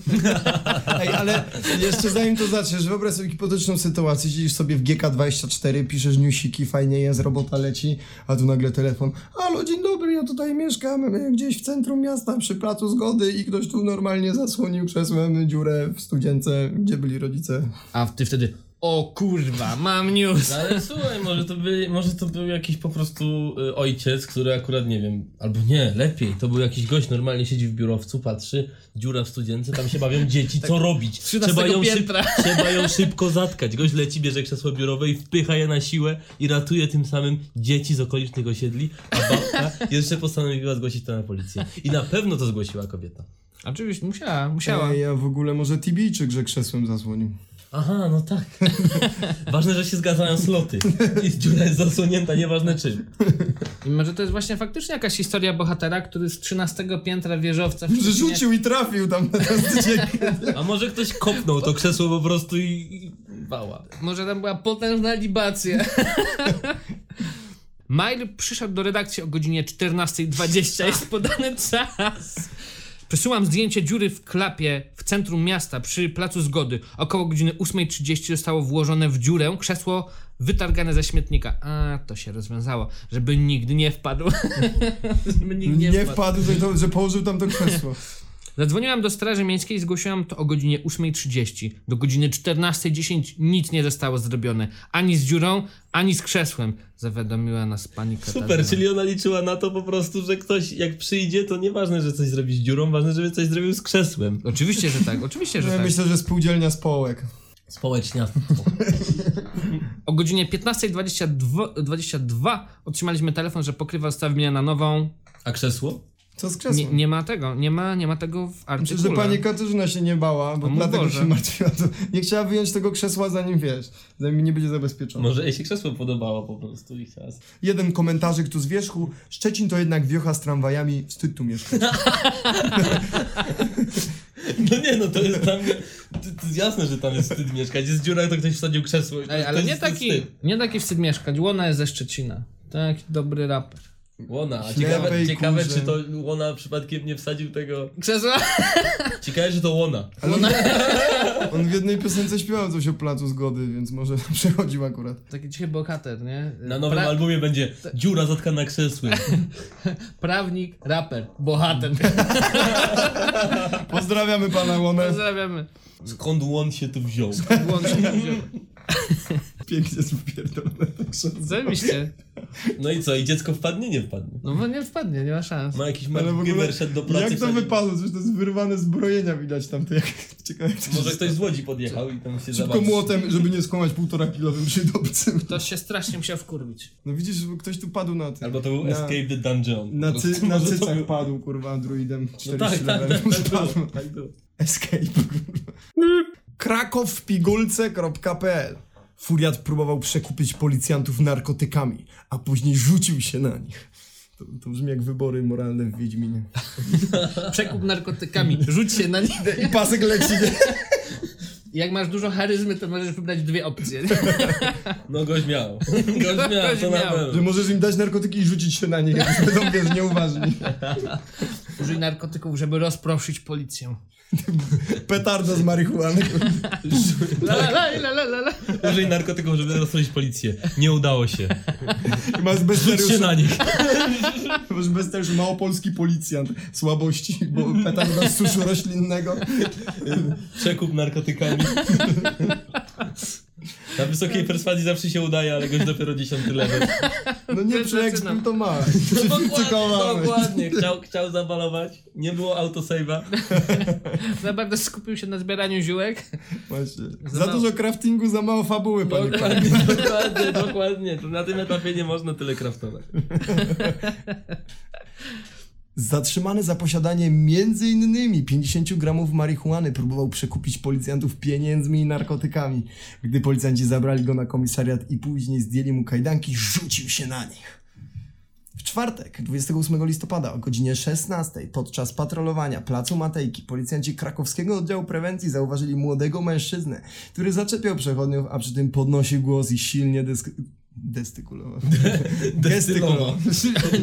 [SPEAKER 6] Ej, ale jeszcze zanim to zaczniesz, wyobraź sobie hipotetyczną sytuację, siedzisz sobie w GK24, piszesz newsiki, fajnie jest, robota leci, a tu nagle telefon, halo, dzień dobry, ja tutaj mieszkam e, gdzieś w centrum miasta przy Placu Zgody i ktoś tu normalnie zasłonił krzesłem dziurę w studience, gdzie byli rodzice.
[SPEAKER 5] A ty wtedy, o kurwa, mam news.
[SPEAKER 4] No, Ale słuchaj, może to, by, może to był jakiś po prostu y, ojciec, który akurat, nie wiem, albo nie, lepiej, to był jakiś gość, normalnie siedzi w biurowcu, patrzy, dziura w studience, tam się bawią dzieci, co robić?
[SPEAKER 5] 13 piętra.
[SPEAKER 4] trzeba ją szybko zatkać. Gość leci, bierze krzesło biurowe i wpycha je na siłę i ratuje tym samym dzieci z okolicznych osiedli, a babka jeszcze postanowiła zgłosić to na policję. I na pewno to zgłosiła kobieta.
[SPEAKER 5] Oczywiście, musiała, musiała.
[SPEAKER 6] Ej, ja w ogóle może Tibijczyk, że krzesłem zasłonił.
[SPEAKER 4] Aha, no tak. Ważne, że się zgadzają sloty. I dziura jest zasłonięta, nieważne czym.
[SPEAKER 5] I może to jest właśnie faktycznie jakaś historia bohatera, który z 13 piętra wieżowca w
[SPEAKER 6] Że
[SPEAKER 5] Szczecinie-
[SPEAKER 6] rzucił i trafił tam na ten studzienkę.
[SPEAKER 4] A może ktoś kopnął to krzesło po prostu i... i bała.
[SPEAKER 5] Może tam była potężna libacja. Mail przyszedł do redakcji o godzinie 14.20, jest podany czas. Przesyłam zdjęcie dziury w klapie w centrum miasta przy Placu Zgody. Około godziny 8.30 zostało włożone w dziurę krzesło wytargane ze śmietnika. A, to się rozwiązało, żeby nigdy nie wpadł. żeby nigdy
[SPEAKER 6] Nie wpadł, że to- że położył tam to krzesło.
[SPEAKER 5] Zadzwoniłam do Straży Miejskiej i zgłosiłam to o godzinie 8.30. Do godziny 14.10 nic nie zostało zrobione. Ani z dziurą, ani z krzesłem. Zawiadomiła nas pani Katarzyna.
[SPEAKER 4] Super, czyli ona liczyła na to po prostu, że ktoś jak przyjdzie, to nieważne, że coś zrobi z dziurą, ważne, żeby coś zrobił z krzesłem.
[SPEAKER 5] Oczywiście, że tak, oczywiście, że
[SPEAKER 6] No Ja
[SPEAKER 5] tak.
[SPEAKER 6] myślę, że spółdzielnia społek.
[SPEAKER 4] Społecznia.
[SPEAKER 5] O godzinie 15.22 22 otrzymaliśmy telefon, że pokrywa została wymieniona na nową.
[SPEAKER 4] A krzesło?
[SPEAKER 6] Co z
[SPEAKER 5] Nie,
[SPEAKER 6] krzesłem?
[SPEAKER 5] nie ma tego, nie ma, nie ma tego w artykule.
[SPEAKER 6] Myślę, że pani Katarzyna się nie bała, bo
[SPEAKER 5] O mój
[SPEAKER 6] dlatego
[SPEAKER 5] Boże.
[SPEAKER 6] się martwiła. To nie chciała wyjąć tego krzesła, zanim wiesz, zanim nie będzie zabezpieczona.
[SPEAKER 4] Może jej się krzesło podobało po prostu i chciała... z-
[SPEAKER 6] Jeden komentarzyk tu z wierzchu. Szczecin to jednak wiocha z tramwajami, wstyd tu mieszkać.
[SPEAKER 4] No nie, no to jest dla mnie... To, to jest jasne, że tam jest wstyd mieszkać. Jest dziura, to ktoś wsadził krzesło. i to-
[SPEAKER 5] Ej,
[SPEAKER 4] to
[SPEAKER 5] ale
[SPEAKER 4] jest
[SPEAKER 5] nie taki,
[SPEAKER 4] wstyd.
[SPEAKER 5] nie taki wstyd mieszkać. Łona jest ze Szczecina. Taki dobry raper.
[SPEAKER 4] Łona, a
[SPEAKER 6] Ślepej
[SPEAKER 4] ciekawe, ciekawe
[SPEAKER 6] kurze.
[SPEAKER 4] czy to Łona przypadkiem nie wsadził tego...
[SPEAKER 5] Krzesła?
[SPEAKER 4] Ciekawe, że to Łona.
[SPEAKER 6] Ale on, on w jednej piosence śpiewał coś o placu zgody, więc może przechodził akurat.
[SPEAKER 5] Taki cichy bohater, nie?
[SPEAKER 4] Na nowym
[SPEAKER 5] Pra-
[SPEAKER 4] albumie będzie dziura zatkana krzesłem.
[SPEAKER 5] Prawnik, raper, bohater.
[SPEAKER 6] Pozdrawiamy pana Łonę.
[SPEAKER 5] Pozdrawiamy.
[SPEAKER 4] Skąd łon się tu wziął?
[SPEAKER 5] Łącznie.
[SPEAKER 6] Pięknie spierdolone to krzesło.
[SPEAKER 5] Zajebiście.
[SPEAKER 4] No i co, i dziecko wpadnie? Nie wpadnie.
[SPEAKER 5] No bo nie wpadnie, nie ma szans.
[SPEAKER 4] Ma jakiś
[SPEAKER 6] Ale w ogóle,
[SPEAKER 4] margimer szedł do pracy.
[SPEAKER 6] jak to
[SPEAKER 4] wsadził-
[SPEAKER 6] wypadło? Coś to jest wyrwane zbrojenia widać tam. To jak, ciekawe jak to się
[SPEAKER 4] Może ktoś z Łodzi podjechał i tam się
[SPEAKER 6] Szybko
[SPEAKER 4] zabawił.
[SPEAKER 6] młotem, żeby nie skłamać półtora kilowym przydobcym.
[SPEAKER 5] Ktoś się strasznie musiał wkurwić.
[SPEAKER 6] No widzisz, bo ktoś tu padł na tym.
[SPEAKER 4] Albo to był
[SPEAKER 6] Na-
[SPEAKER 4] Escape the Dungeon.
[SPEAKER 6] Na,
[SPEAKER 4] Po
[SPEAKER 6] cy,
[SPEAKER 4] prostu
[SPEAKER 6] na
[SPEAKER 4] może to
[SPEAKER 6] cycach
[SPEAKER 4] był-
[SPEAKER 6] padł, kurwa, androidem. 40
[SPEAKER 4] No tak, tak,
[SPEAKER 6] levelów
[SPEAKER 4] tak, tak,
[SPEAKER 6] padł.
[SPEAKER 4] było, tak było.
[SPEAKER 6] Escape, kurwa. krakowpigulce.pl Furiat próbował przekupić policjantów narkotykami, a później rzucił się na nich. To, to brzmi jak wybory moralne w Wiedźminie.
[SPEAKER 5] Przekup narkotykami, rzuć się na nich.
[SPEAKER 6] I pasek leci.
[SPEAKER 5] Jak masz dużo charyzmy, to możesz wybrać dwie opcje.
[SPEAKER 4] No gość miał. Gość miał,
[SPEAKER 5] Gość
[SPEAKER 4] to na
[SPEAKER 5] miał.
[SPEAKER 6] Że
[SPEAKER 4] pewno.
[SPEAKER 6] możesz im dać narkotyki i rzucić się na nich, jak już będą wiesz, nieuważni.
[SPEAKER 5] Użyj narkotyków, żeby rozproszyć policję.
[SPEAKER 6] Petarda z marihuany.
[SPEAKER 5] La, la, la, la, la, la.
[SPEAKER 4] Użyj narkotyków, żeby rozstrzelić policję. Nie udało się.
[SPEAKER 6] I Masz bez
[SPEAKER 4] Rzuć się na nich.
[SPEAKER 6] Masz bez też małopolski policjant słabości, bo petarda z suszu roślinnego.
[SPEAKER 4] Przekup narkotykami. Na wysokiej perswazji zawsze się udaje, ale goś dopiero dziesiąty level.
[SPEAKER 6] No nie przeeksprim to ma. Przefikcykowałeś.
[SPEAKER 4] dokładnie. Chciał, chciał zabalować, nie było autosave'a.
[SPEAKER 5] Za bardzo skupił się na zbieraniu ziółek.
[SPEAKER 6] Właśnie.
[SPEAKER 5] Za
[SPEAKER 6] Za
[SPEAKER 5] mało.
[SPEAKER 6] dużo craftingu, za mało fabuły,
[SPEAKER 4] No,
[SPEAKER 6] panie Karol.
[SPEAKER 4] Dokładnie, dokładnie, dokładnie. To na tym etapie nie można tyle kraftować.
[SPEAKER 6] Zatrzymany za posiadanie m.in. 50 gramów marihuany próbował przekupić policjantów pieniędzmi i narkotykami. Gdy policjanci zabrali go na komisariat i później zdjęli mu kajdanki, rzucił się na nich. W czwartek, 28 listopada o godzinie 16 podczas patrolowania placu Matejki policjanci krakowskiego oddziału prewencji zauważyli młodego mężczyznę, który zaczepiał przechodniów, a przy tym podnosił głos i silnie dysk... destykulował. Gestykulował.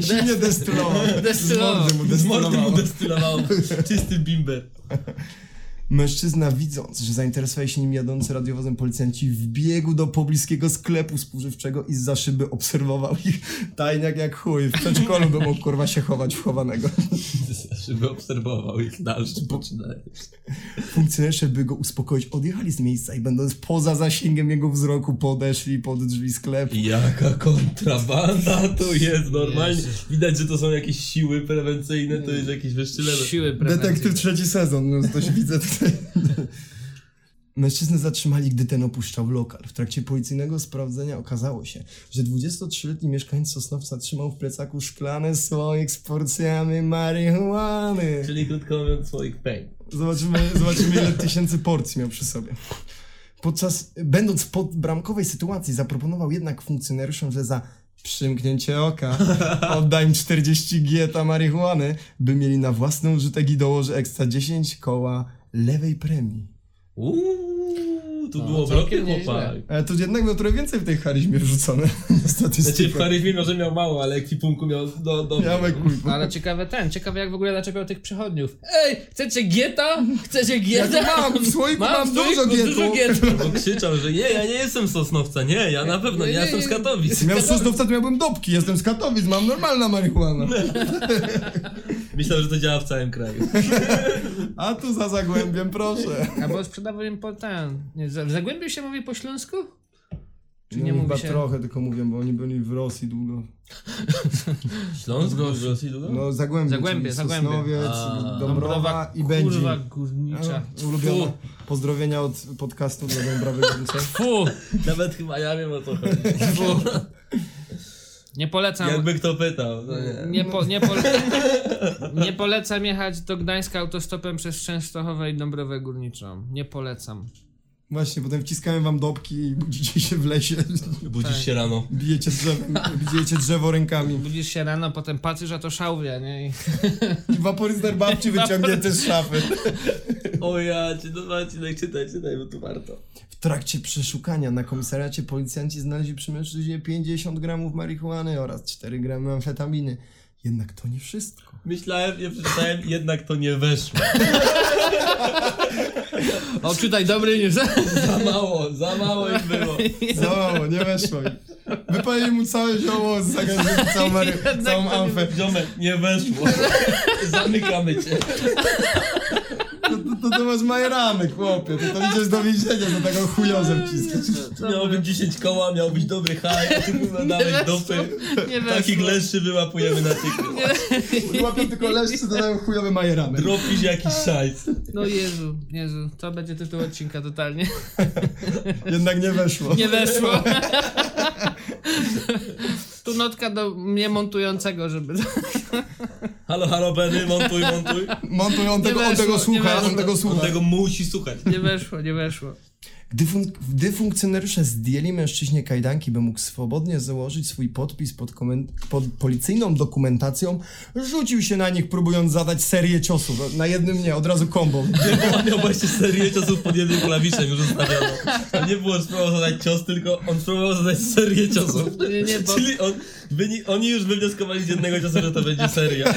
[SPEAKER 6] Silnie destylował.
[SPEAKER 5] Destylował.
[SPEAKER 6] Z mordy mu
[SPEAKER 4] Z mordy mu
[SPEAKER 6] destylował.
[SPEAKER 4] destylowało. Czysty bimber.
[SPEAKER 6] Mężczyzna widząc, że zainteresowali się nim jadący radiowozem policjanci, wbiegł do pobliskiego sklepu spożywczego i za szyby obserwował ich tajniak jak chuj. W przedszkolu by mógł kurwa się chować w chowanego.
[SPEAKER 4] Żeby obserwował ich dalsze poczynania.
[SPEAKER 6] Funkcjonariusze, by go uspokoić, odjechali z miejsca i będąc poza zasięgiem jego wzroku, podeszli pod drzwi sklepu.
[SPEAKER 4] Jaka kontrabanda tu jest normalnie.
[SPEAKER 5] Jezus.
[SPEAKER 4] Widać, że to są jakieś siły prewencyjne, to jest jakiś wyższy level.
[SPEAKER 5] Siły prewencji.
[SPEAKER 6] Detektyw trzeci sezon, no coś widzę tutaj. Mężczyznę zatrzymali, gdy ten opuszczał lokal. W trakcie policyjnego sprawdzenia okazało się, że 23-letni mieszkaniec Sosnowca trzymał w plecaku szklany słoik z porcjami marihuany.
[SPEAKER 4] Czyli krótko mówiąc swoich pain.
[SPEAKER 6] Zobaczymy, zobaczymy ile tysięcy porcji miał przy sobie. Podczas, będąc w podbramkowej sytuacji, zaproponował jednak funkcjonariuszom, że za przymknięcie oka odda im 40 gieta marihuany, by mieli na własny użytek i dołoży ekstra 10 koła lewej premii.
[SPEAKER 4] Uuu, tu
[SPEAKER 5] No,
[SPEAKER 4] było
[SPEAKER 5] całkiem
[SPEAKER 4] blokiem chłopak.
[SPEAKER 5] nieźle.
[SPEAKER 6] Ale to jednak miał trochę więcej w tej charyzmie wrzucone na
[SPEAKER 4] Znaczy w
[SPEAKER 6] statystykę.
[SPEAKER 4] charyzmie może miał mało, ale ekipunku miał do, do
[SPEAKER 6] Miałek
[SPEAKER 5] No ale ciekawe ten, ciekawe jak w ogóle zaczepiał tych przechodniów. Ej, chcecie gieta? Chcecie
[SPEAKER 6] Ja
[SPEAKER 5] gieta?
[SPEAKER 6] tu mam, w słoiku mam,
[SPEAKER 5] w
[SPEAKER 6] dużo
[SPEAKER 5] słoiku
[SPEAKER 6] gietu.
[SPEAKER 5] Dużo gietu.
[SPEAKER 4] Bo krzyczał, że nie, ja nie jestem z Sosnowca, nie, ja na pewno,
[SPEAKER 5] Nie,
[SPEAKER 4] nie, ja
[SPEAKER 5] nie,
[SPEAKER 4] jestem z
[SPEAKER 5] nie.
[SPEAKER 4] Katowic.
[SPEAKER 6] Miał Sosnowca, to miałbym dopki, jestem z Katowic, mam normalna marihuana.
[SPEAKER 4] Myślałem, że to działa w całym kraju.
[SPEAKER 6] A tu za zagłębiem, proszę.
[SPEAKER 5] Albo sprzedawał im po ten. Nie, za- zagłębił się mówi po śląsku? Czy
[SPEAKER 6] No
[SPEAKER 5] nie
[SPEAKER 6] chyba
[SPEAKER 5] mówi się?
[SPEAKER 6] trochę tylko mówię, bo oni byli w Rosji długo.
[SPEAKER 4] Śląsk, w Rosji długo?
[SPEAKER 6] No Zagłębie,
[SPEAKER 5] Zagłębie,
[SPEAKER 6] czyli
[SPEAKER 5] Zagłębie.
[SPEAKER 6] Sosnowiec,
[SPEAKER 4] A.
[SPEAKER 6] Dąbrowa i Będzin.
[SPEAKER 5] Kurwa górnicza.
[SPEAKER 6] A, Ulubione pozdrowienia od podcastu dla Dąbra Wygórnicza.
[SPEAKER 5] Fu,
[SPEAKER 4] Nawet chyba ja wiem o co chodzi.
[SPEAKER 5] fu. Nie polecam.
[SPEAKER 4] Jakby kto pytał, to nie.
[SPEAKER 5] Nie, po, nie, pole... nie polecam jechać do Gdańska autostopem przez Częstochowę i Dąbrowę Górniczą. Nie polecam.
[SPEAKER 6] Właśnie, potem wciskałem wam dopki i budzicie się w lesie,
[SPEAKER 4] Budzisz
[SPEAKER 5] Tak.
[SPEAKER 4] się rano.
[SPEAKER 6] bijecie drzewo, bijecie drzewo rękami.
[SPEAKER 5] Budzisz się rano, potem patrzysz, a to szałwia, nie? I...
[SPEAKER 6] I waporyzer babci wyciągnięty z szafy.
[SPEAKER 4] O ja, czy to Marcinek, czytaj, czytaj, bo tu warto.
[SPEAKER 6] W trakcie przeszukania na komisariacie policjanci znaleźli przy mężczyźnie 50 gramów marihuany oraz 4 gramy amfetaminy. Jednak to nie wszystko.
[SPEAKER 4] Myślałem, nie przeczytałem, jednak to nie weszło.
[SPEAKER 5] O, czytaj, dobry nie
[SPEAKER 4] Za mało, za mało im było.
[SPEAKER 6] Za mało, No, nie weszło mi. Wypalili mu całe zioło, zagadnęli całą, mary- całą amfę.
[SPEAKER 4] Ziomek, nie weszło. Zamykamy cię.
[SPEAKER 6] To, to, to, to masz majramy, chłopie. To, to idziesz do więzienia za taką chujozę wciskać.
[SPEAKER 4] Miałbym 10 koła, miał być dobry haj, a ty kurwa dałeś
[SPEAKER 5] weszło,
[SPEAKER 4] dopy.
[SPEAKER 5] Nie
[SPEAKER 4] Takich
[SPEAKER 5] weszło.
[SPEAKER 4] leszczy wyłapujemy na tyku.
[SPEAKER 6] Łapią tylko leszczy, dodają chujowe majramy.
[SPEAKER 4] Dropisz jakiś szajs.
[SPEAKER 5] No Jezu, Jezu, to będzie tytuł odcinka totalnie.
[SPEAKER 6] Jednak nie weszło.
[SPEAKER 5] Nie weszło. Tu notka do mnie montującego, żeby...
[SPEAKER 4] Halo, halo, Benny, montuj, montuj.
[SPEAKER 6] Montuj, on
[SPEAKER 5] Nie
[SPEAKER 6] tego, on
[SPEAKER 5] weszło,
[SPEAKER 6] tego
[SPEAKER 5] nie
[SPEAKER 6] słucha,
[SPEAKER 5] weszło.
[SPEAKER 6] on tego
[SPEAKER 4] On
[SPEAKER 6] słucha.
[SPEAKER 4] tego musi słuchać.
[SPEAKER 5] Nie weszło, nie weszło.
[SPEAKER 6] Gdy, fun- gdy funkcjonariusze zdjęli mężczyźnie kajdanki, by mógł swobodnie założyć swój podpis pod, komen- pod policyjną dokumentacją, rzucił się na nich, próbując zadać serię ciosów. Na jednym nie, od razu kombą.
[SPEAKER 4] On miał właśnie serię ciosów pod jednym klawiszem już ustawiono. To nie było, że spróbował zadać cios, tylko on spróbował zadać serię ciosów.
[SPEAKER 5] Nie, nie, bo-
[SPEAKER 4] Czyli on, wyni- oni już wywnioskowali z jednego ciosu, że to będzie seria.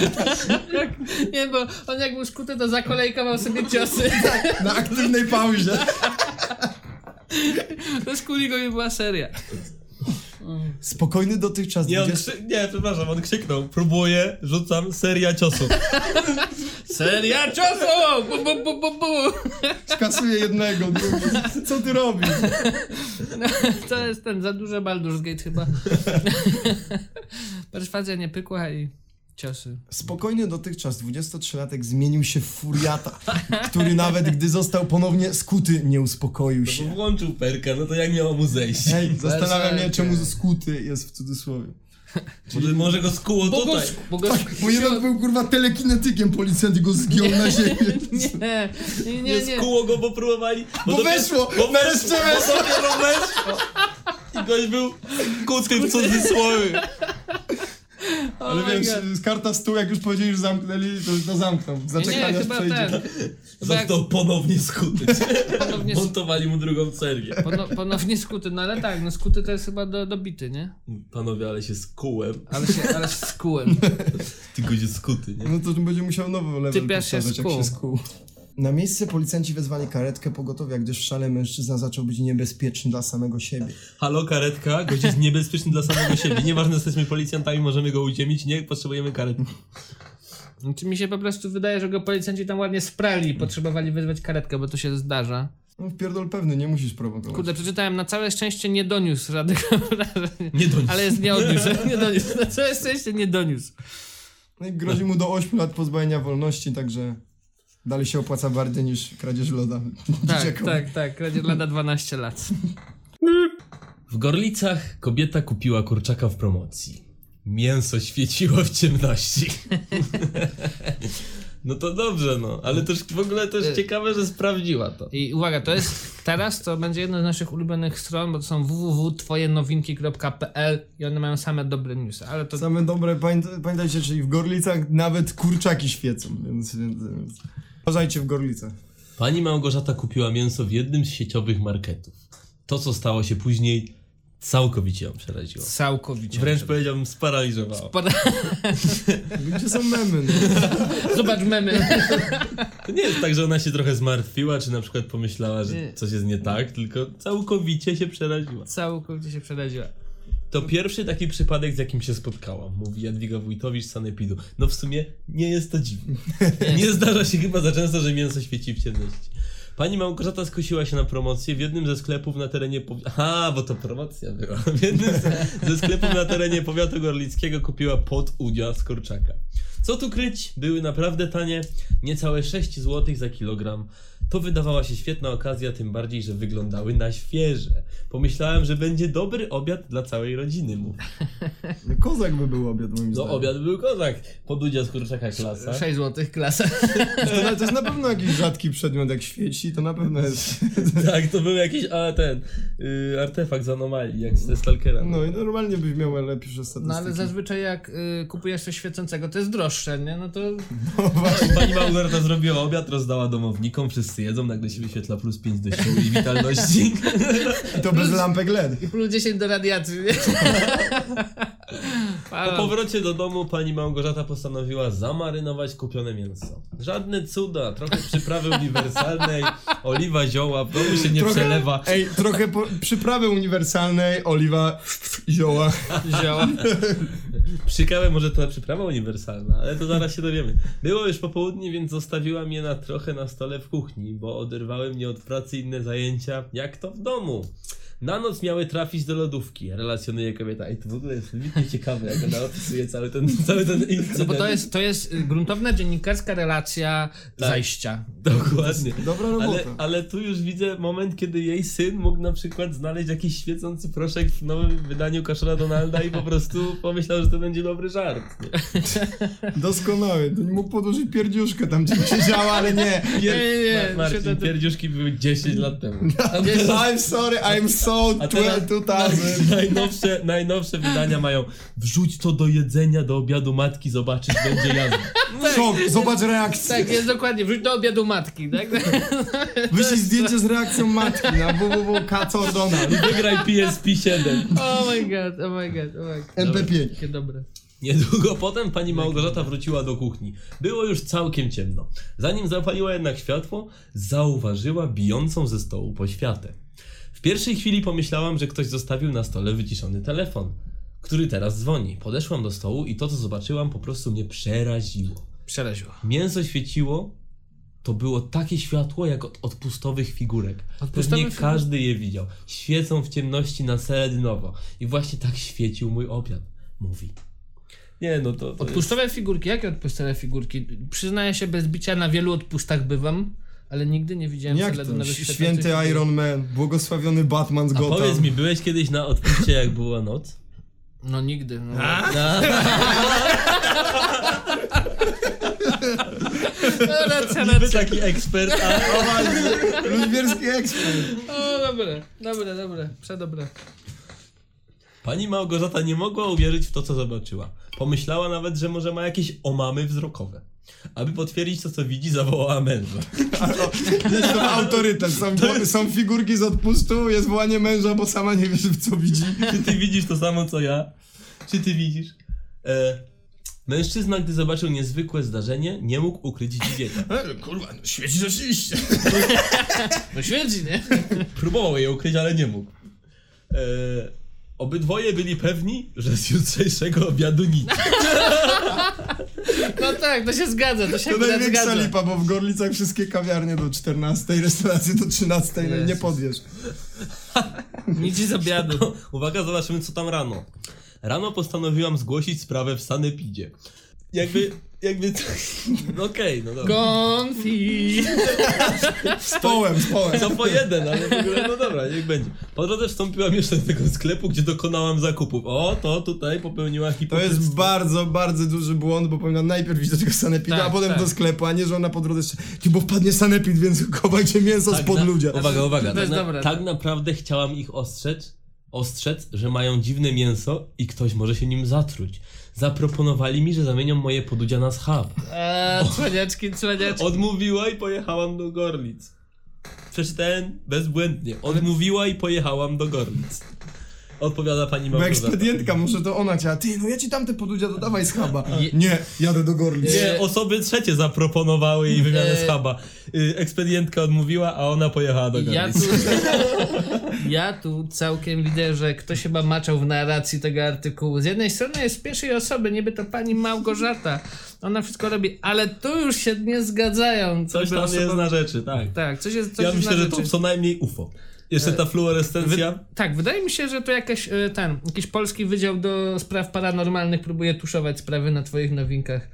[SPEAKER 5] Nie, bo on jak był szkuty, to zakolejkował sobie ciosy.
[SPEAKER 6] Na aktywnej pauzie.
[SPEAKER 5] To z Kurigo nie była seria.
[SPEAKER 6] Spokojny dotychczas.
[SPEAKER 4] Nie, on
[SPEAKER 6] 20
[SPEAKER 4] krzy- nie, przepraszam, on krzyknął. Próbuję, rzucam, seria ciosów.
[SPEAKER 5] Seria ciosu! Bu, bu, bu, bu, bu.
[SPEAKER 6] Skasuje jednego, drugi. Co ty robisz?
[SPEAKER 5] To jest ten za duże Baldur's Gate chyba. Perswazja nie pykła i ciosy.
[SPEAKER 6] Spokojny dotychczas 23-latek zmienił się w furiata, który nawet gdy został ponownie skuty, nie uspokoił się.
[SPEAKER 4] Włączył perka, no to jak miało mu zejść?
[SPEAKER 6] Hej, zastanawiam się,
[SPEAKER 5] Berserker.
[SPEAKER 6] czemu skuty jest w cudzysłowie.
[SPEAKER 4] Może, może go skuło tutaj.
[SPEAKER 5] Bogos, bogos...
[SPEAKER 6] Tak, Bo jeden był kurwa telekinetykiem, policjant i go zgiął na ziemię.
[SPEAKER 5] Nie, nie,
[SPEAKER 4] Nie,
[SPEAKER 5] nie. nie.
[SPEAKER 4] skuło go, bo próbowali.
[SPEAKER 6] Bo
[SPEAKER 4] dopiero-
[SPEAKER 6] weszło!
[SPEAKER 4] Bo
[SPEAKER 6] Nareszcie weszło!
[SPEAKER 4] Bo dopiero weszło! I gość był kuckiem w cudzysłowie.
[SPEAKER 5] O
[SPEAKER 6] Ale
[SPEAKER 5] Oh my
[SPEAKER 6] wiesz,
[SPEAKER 5] God.
[SPEAKER 6] z karta stół, jak już powiedzieli, że zamknęli, to, to zamknął.
[SPEAKER 5] nie, nie,
[SPEAKER 6] Zaczekaj, aż
[SPEAKER 5] chyba
[SPEAKER 6] przejdzie.
[SPEAKER 5] ten. Chyba jak
[SPEAKER 4] Został ponownie skuty.
[SPEAKER 5] ponownie,
[SPEAKER 4] Montowali mu drugą serię.
[SPEAKER 5] pono, ponownie skuty, no ale tak, no skuty to jest chyba do, dobity, nie?
[SPEAKER 4] Panowie, ale się skułem.
[SPEAKER 5] Ale się, ale się skułem.
[SPEAKER 4] Ty gość skuty, nie?
[SPEAKER 6] No to tu będzie musiał nowy level
[SPEAKER 5] Typiarz się
[SPEAKER 6] powtarzać, jak
[SPEAKER 5] skuł.
[SPEAKER 6] się skuł. Na miejsce policjanci wezwali karetkę pogotowia, gdyż w szale mężczyzna zaczął być niebezpieczny dla samego siebie.
[SPEAKER 4] Halo, karetka, gość jest niebezpieczny dla samego siebie. Nieważne, że jesteśmy policjantami, możemy go uziemić. Nie, potrzebujemy karetki.
[SPEAKER 5] Czy Znaczy, mi się po prostu wydaje, że go policjanci tam ładnie sprali i potrzebowali wezwać karetkę, bo to się zdarza.
[SPEAKER 6] No wpierdol pewny, nie musisz prowokować.
[SPEAKER 5] Kurde, przeczytałem, na całe szczęście nie doniósł żadnych obrażeń.
[SPEAKER 4] Nie do nich.
[SPEAKER 5] Ale jest nie odniósł, nie doniósł. No, Na całe szczęście nie doniósł.
[SPEAKER 6] No i grozi mu do 8 lat pozbawienia wolności, także dalej się opłaca bardziej niż kradzież loda.
[SPEAKER 5] Tak,
[SPEAKER 6] dzieciakom.
[SPEAKER 5] tak, tak. Kradzie lada 12 lat.
[SPEAKER 4] W Gorlicach kobieta kupiła kurczaka w promocji. Mięso świeciło w ciemności. no to dobrze, no. Ale też w ogóle
[SPEAKER 5] Y-
[SPEAKER 4] też ciekawe, że sprawdziła to.
[SPEAKER 5] I uwaga, to jest teraz, to będzie jedna z naszych ulubionych stron, bo to są www.twojenowinki.pl i one mają same dobre newsy, ale to
[SPEAKER 6] Same dobre, pamięta- pamiętajcie, czyli w Gorlicach nawet kurczaki świecą, więc... więc, więc. Uważajcie w Gorlicach.
[SPEAKER 4] Pani Małgorzata kupiła mięso w jednym z sieciowych marketów. To, co stało się później, całkowicie ją przeraziło.
[SPEAKER 5] całkowicie.
[SPEAKER 4] Wręcz powiedziałbym, sparaliżowało.
[SPEAKER 5] Pada-
[SPEAKER 6] Gdzie są memy? No?
[SPEAKER 5] Zobacz memy.
[SPEAKER 4] To nie jest tak, że ona się trochę zmartwiła, czy na przykład pomyślała, że
[SPEAKER 5] Nie.
[SPEAKER 4] coś jest nie tak, tylko całkowicie się przeraziła.
[SPEAKER 5] Całkowicie się przeraziła.
[SPEAKER 4] To pierwszy taki przypadek, z jakim się spotkałam, mówi Jadwiga Wójtowicz z Sanepidu. No w sumie nie jest to dziwne. nie zdarza się chyba za często, że mięso świeci w ciemności. Pani Małgorzata skusiła się na promocję w jednym ze sklepów na terenie powi- Aha, bo to promocja była. W jednym ze, ze sklepów na terenie powiatu gorlickiego kupiła pot udzia z kurczaka. Co tu kryć? Były naprawdę tanie, niecałe 6 zł za kilogram. To wydawała się świetna okazja, tym bardziej, że wyglądały na świeże. Pomyślałem, że będzie dobry obiad dla całej rodziny, mówi.
[SPEAKER 6] No Kozak by był obiad moim
[SPEAKER 4] No
[SPEAKER 6] zdaniem.
[SPEAKER 4] obiad był kozak, pod udzia z kurczaka klasa.
[SPEAKER 5] 6 złotych klasa.
[SPEAKER 6] To, na- to jest na pewno jakiś rzadki przedmiot, jak świeci, to na pewno jest...
[SPEAKER 4] Tak, to był jakiś, a ten, yy, artefakt z anomalii, jak z Stalkera.
[SPEAKER 6] No i normalnie byś miał lepsze statystyki.
[SPEAKER 5] No ale zazwyczaj jak y, kupujesz coś świecącego, to jest droższe, nie? No to
[SPEAKER 4] No, Pani Małgorzata zrobiła obiad, rozdała domownikom, wszyscy jedzą, nagle się wyświetla plus 5 do siły i witalności.
[SPEAKER 6] I to bez lampek LED.
[SPEAKER 5] plus 10 do radiacji, nie?
[SPEAKER 4] Po
[SPEAKER 5] Halo.
[SPEAKER 4] powrocie do domu pani Małgorzata postanowiła zamarynować kupione mięso. Żadne cuda, trochę przyprawy uniwersalnej, oliwa zioła, w domu się nie przelewa.
[SPEAKER 6] Ej, trochę po, przyprawy uniwersalnej, oliwa, zioła.
[SPEAKER 5] Zioła.
[SPEAKER 4] Ciekawe, może to przyprawa uniwersalna, ale to zaraz się dowiemy. Było już popołudnie, więc zostawiłam je na trochę na stole w kuchni, bo oderwały mnie od pracy inne zajęcia, jak to w domu. Na noc miały trafić do lodówki, relacjonuje kobieta. I to w ogóle jest wybitnie ciekawe, jak ona opisuje cały ten, cały ten incydent.
[SPEAKER 5] No bo to jest, to jest y, gruntowna dziennikarska relacja zajścia.
[SPEAKER 4] Dokładnie.
[SPEAKER 5] no,
[SPEAKER 6] Dobra robota.
[SPEAKER 4] Ale, ale tu już widzę moment, kiedy jej syn mógł na przykład znaleźć jakiś świecący proszek w nowym wydaniu Kaszora Donalda i po prostu pomyślał, że to będzie dobry żart. Nie?
[SPEAKER 6] Doskonały. To nie mógł podłożyć pierdziuszkę tam, gdzie siedziała, ale nie.
[SPEAKER 5] Nie, nie,
[SPEAKER 4] Ma- Marcin,
[SPEAKER 5] się to-
[SPEAKER 4] pierdziuszki były 10 lat temu. A
[SPEAKER 6] I'm sorry, I'm so
[SPEAKER 4] a teraz
[SPEAKER 6] 2000.
[SPEAKER 4] najnowsze, najnowsze wydania mają wrzuć to do jedzenia, do obiadu matki, zobaczyć, będzie jazda.
[SPEAKER 6] Szok, zobacz reakcję.
[SPEAKER 5] Tak, jest dokładnie, wróć do obiadu matki, tak?
[SPEAKER 6] Wyślij zdjęcie z reakcją matki na www.kacordona.
[SPEAKER 4] I wygraj PSP 7.
[SPEAKER 5] Oh my god, oh my god, oh my god.
[SPEAKER 6] MP5.
[SPEAKER 5] Jakie dobre.
[SPEAKER 4] Niedługo potem pani Małgorzata wróciła do kuchni. Było już całkiem ciemno. Zanim zapaliła jednak światło, zauważyła bijącą ze stołu poświatę. W pierwszej chwili pomyślałam, że ktoś zostawił na stole wyciszony telefon, który teraz dzwoni. Podeszłam do stołu i to, co zobaczyłam, po prostu mnie przeraziło.
[SPEAKER 5] Przeraziło.
[SPEAKER 4] Mięso świeciło, to było takie światło jak od odpustowych figurek.
[SPEAKER 5] Odpustowe
[SPEAKER 4] Pewnie
[SPEAKER 5] figu-
[SPEAKER 4] każdy je widział. Świecą w ciemności na seledynowo. I właśnie tak świecił mój obiad. Mówi. Nie no, to, to jest...
[SPEAKER 5] Odpustowe figurki, jakie odpustowe figurki? Przyznaję się, bez bicia na wielu odpustach bywam, ale nigdy nie widziałem
[SPEAKER 6] Jak to?
[SPEAKER 5] seledynowych
[SPEAKER 6] Ś-
[SPEAKER 5] świecących
[SPEAKER 6] Święty
[SPEAKER 5] figurek.
[SPEAKER 6] Iron Man, błogosławiony Batman z
[SPEAKER 4] A powiedz
[SPEAKER 6] Gotham.
[SPEAKER 4] mi, byłeś kiedyś na odpuście jak była noc?
[SPEAKER 5] No nigdy. No.
[SPEAKER 4] Tak,
[SPEAKER 5] No, racja,
[SPEAKER 4] Niby
[SPEAKER 5] racja.
[SPEAKER 4] taki ekspert, a...
[SPEAKER 6] O właśnie, Ludwierski ekspert.
[SPEAKER 5] O, dobre, dobre, dobre, przedobre.
[SPEAKER 4] Pani Małgorzata nie mogła uwierzyć w to, co zobaczyła. Pomyślała nawet, że może ma jakieś omamy wzrokowe. Aby potwierdzić to, co widzi, zawołała męża.
[SPEAKER 6] Jest to autorytet. Są, są figurki z odpustu, jest wołanie męża, bo sama nie wiesz, w co widzi.
[SPEAKER 4] Czy ty widzisz to samo co ja? Czy ty widzisz? E, mężczyzna, gdy zobaczył niezwykłe zdarzenie, nie mógł ukryć zdziwienia.
[SPEAKER 6] Kurwa, no świeci rzeczywiście.
[SPEAKER 5] No śmierdzi, nie?
[SPEAKER 4] Próbował je ukryć, ale nie mógł. E, obydwoje byli pewni, że z jutrzejszego obiadu nic.
[SPEAKER 5] No tak, to się zgadza, to się
[SPEAKER 6] To
[SPEAKER 5] akurat
[SPEAKER 6] największa
[SPEAKER 5] zgadza.
[SPEAKER 6] lipa, bo w Gorlicach wszystkie kawiarnie do 14, restauracje do 13, no i nie
[SPEAKER 5] Jezus.
[SPEAKER 6] podjesz.
[SPEAKER 5] Nic z obiadu.
[SPEAKER 4] Uwaga, zobaczymy co tam rano. Rano postanowiłam zgłosić sprawę w sanepidzie. Jakby, jakby... No Okej, no dobra.
[SPEAKER 5] Konfi.
[SPEAKER 6] Z połem, z połem.
[SPEAKER 4] Co po jeden, ale w ogóle, no dobra, niech będzie. Po drodze wstąpiłam jeszcze do tego sklepu, gdzie dokonałam zakupów. O, to tutaj popełniła
[SPEAKER 6] To
[SPEAKER 4] hipokryzję.
[SPEAKER 6] jest bardzo, bardzo duży błąd, bo powinna najpierw iść do tego sanepidu,
[SPEAKER 5] Tak,
[SPEAKER 6] a potem
[SPEAKER 5] tak.
[SPEAKER 6] do sklepu, a nie, że ona po drodze jeszcze, ty, bo wpadnie sanepid, więc chowajcie mięso spod
[SPEAKER 4] Tak na-
[SPEAKER 6] ludzia.
[SPEAKER 4] Uwaga, uwaga.
[SPEAKER 5] To
[SPEAKER 4] Tak,
[SPEAKER 5] jest
[SPEAKER 4] na,
[SPEAKER 5] dobre.
[SPEAKER 4] tak naprawdę chciałam ich ostrzec, ostrzec, że mają dziwne mięso i ktoś może się nim zatruć. Zaproponowali mi, że zamienią moje podudzia na schab.
[SPEAKER 5] Eee, cwaniaczki, cwaniaczki.
[SPEAKER 4] Odmówiła i pojechałam do Gorlic. Przeczytałem bezbłędnie. Odmówiła i pojechałam do Gorlic. Odpowiada pani
[SPEAKER 6] Bo
[SPEAKER 4] Małgorzata.
[SPEAKER 6] ekspedientka, może to ona cię, a ty, no ja ci tamte podudzia dodawaj z chaba.
[SPEAKER 5] Je-
[SPEAKER 6] Nie, jadę do Gorlic.
[SPEAKER 4] Nie, osoby trzecie zaproponowały jej wymianę
[SPEAKER 5] Eee.
[SPEAKER 4] schaba. Y, Ekspedientka odmówiła, a ona pojechała do Gorlic.
[SPEAKER 5] Ja tu, ja tu całkiem widzę, że ktoś chyba maczał w narracji tego artykułu. Z jednej strony jest z pierwszej osoby, niby to pani Małgorzata. Ona wszystko robi, ale tu już się nie zgadzają. co
[SPEAKER 4] Coś
[SPEAKER 5] by
[SPEAKER 4] tam
[SPEAKER 5] osoba-
[SPEAKER 4] jest na rzeczy, tak.
[SPEAKER 5] Tak, coś jest coś
[SPEAKER 4] Ja
[SPEAKER 5] jest
[SPEAKER 4] myślę,
[SPEAKER 5] na
[SPEAKER 4] że to
[SPEAKER 5] rzeczy. E,
[SPEAKER 4] co najmniej UFO. Jeszcze ta fluorescencja.
[SPEAKER 5] Tak, wydaje mi się, że to jakaś, e, ten, jakiś polski wydział do spraw paranormalnych próbuje tuszować sprawy na twoich nowinkach.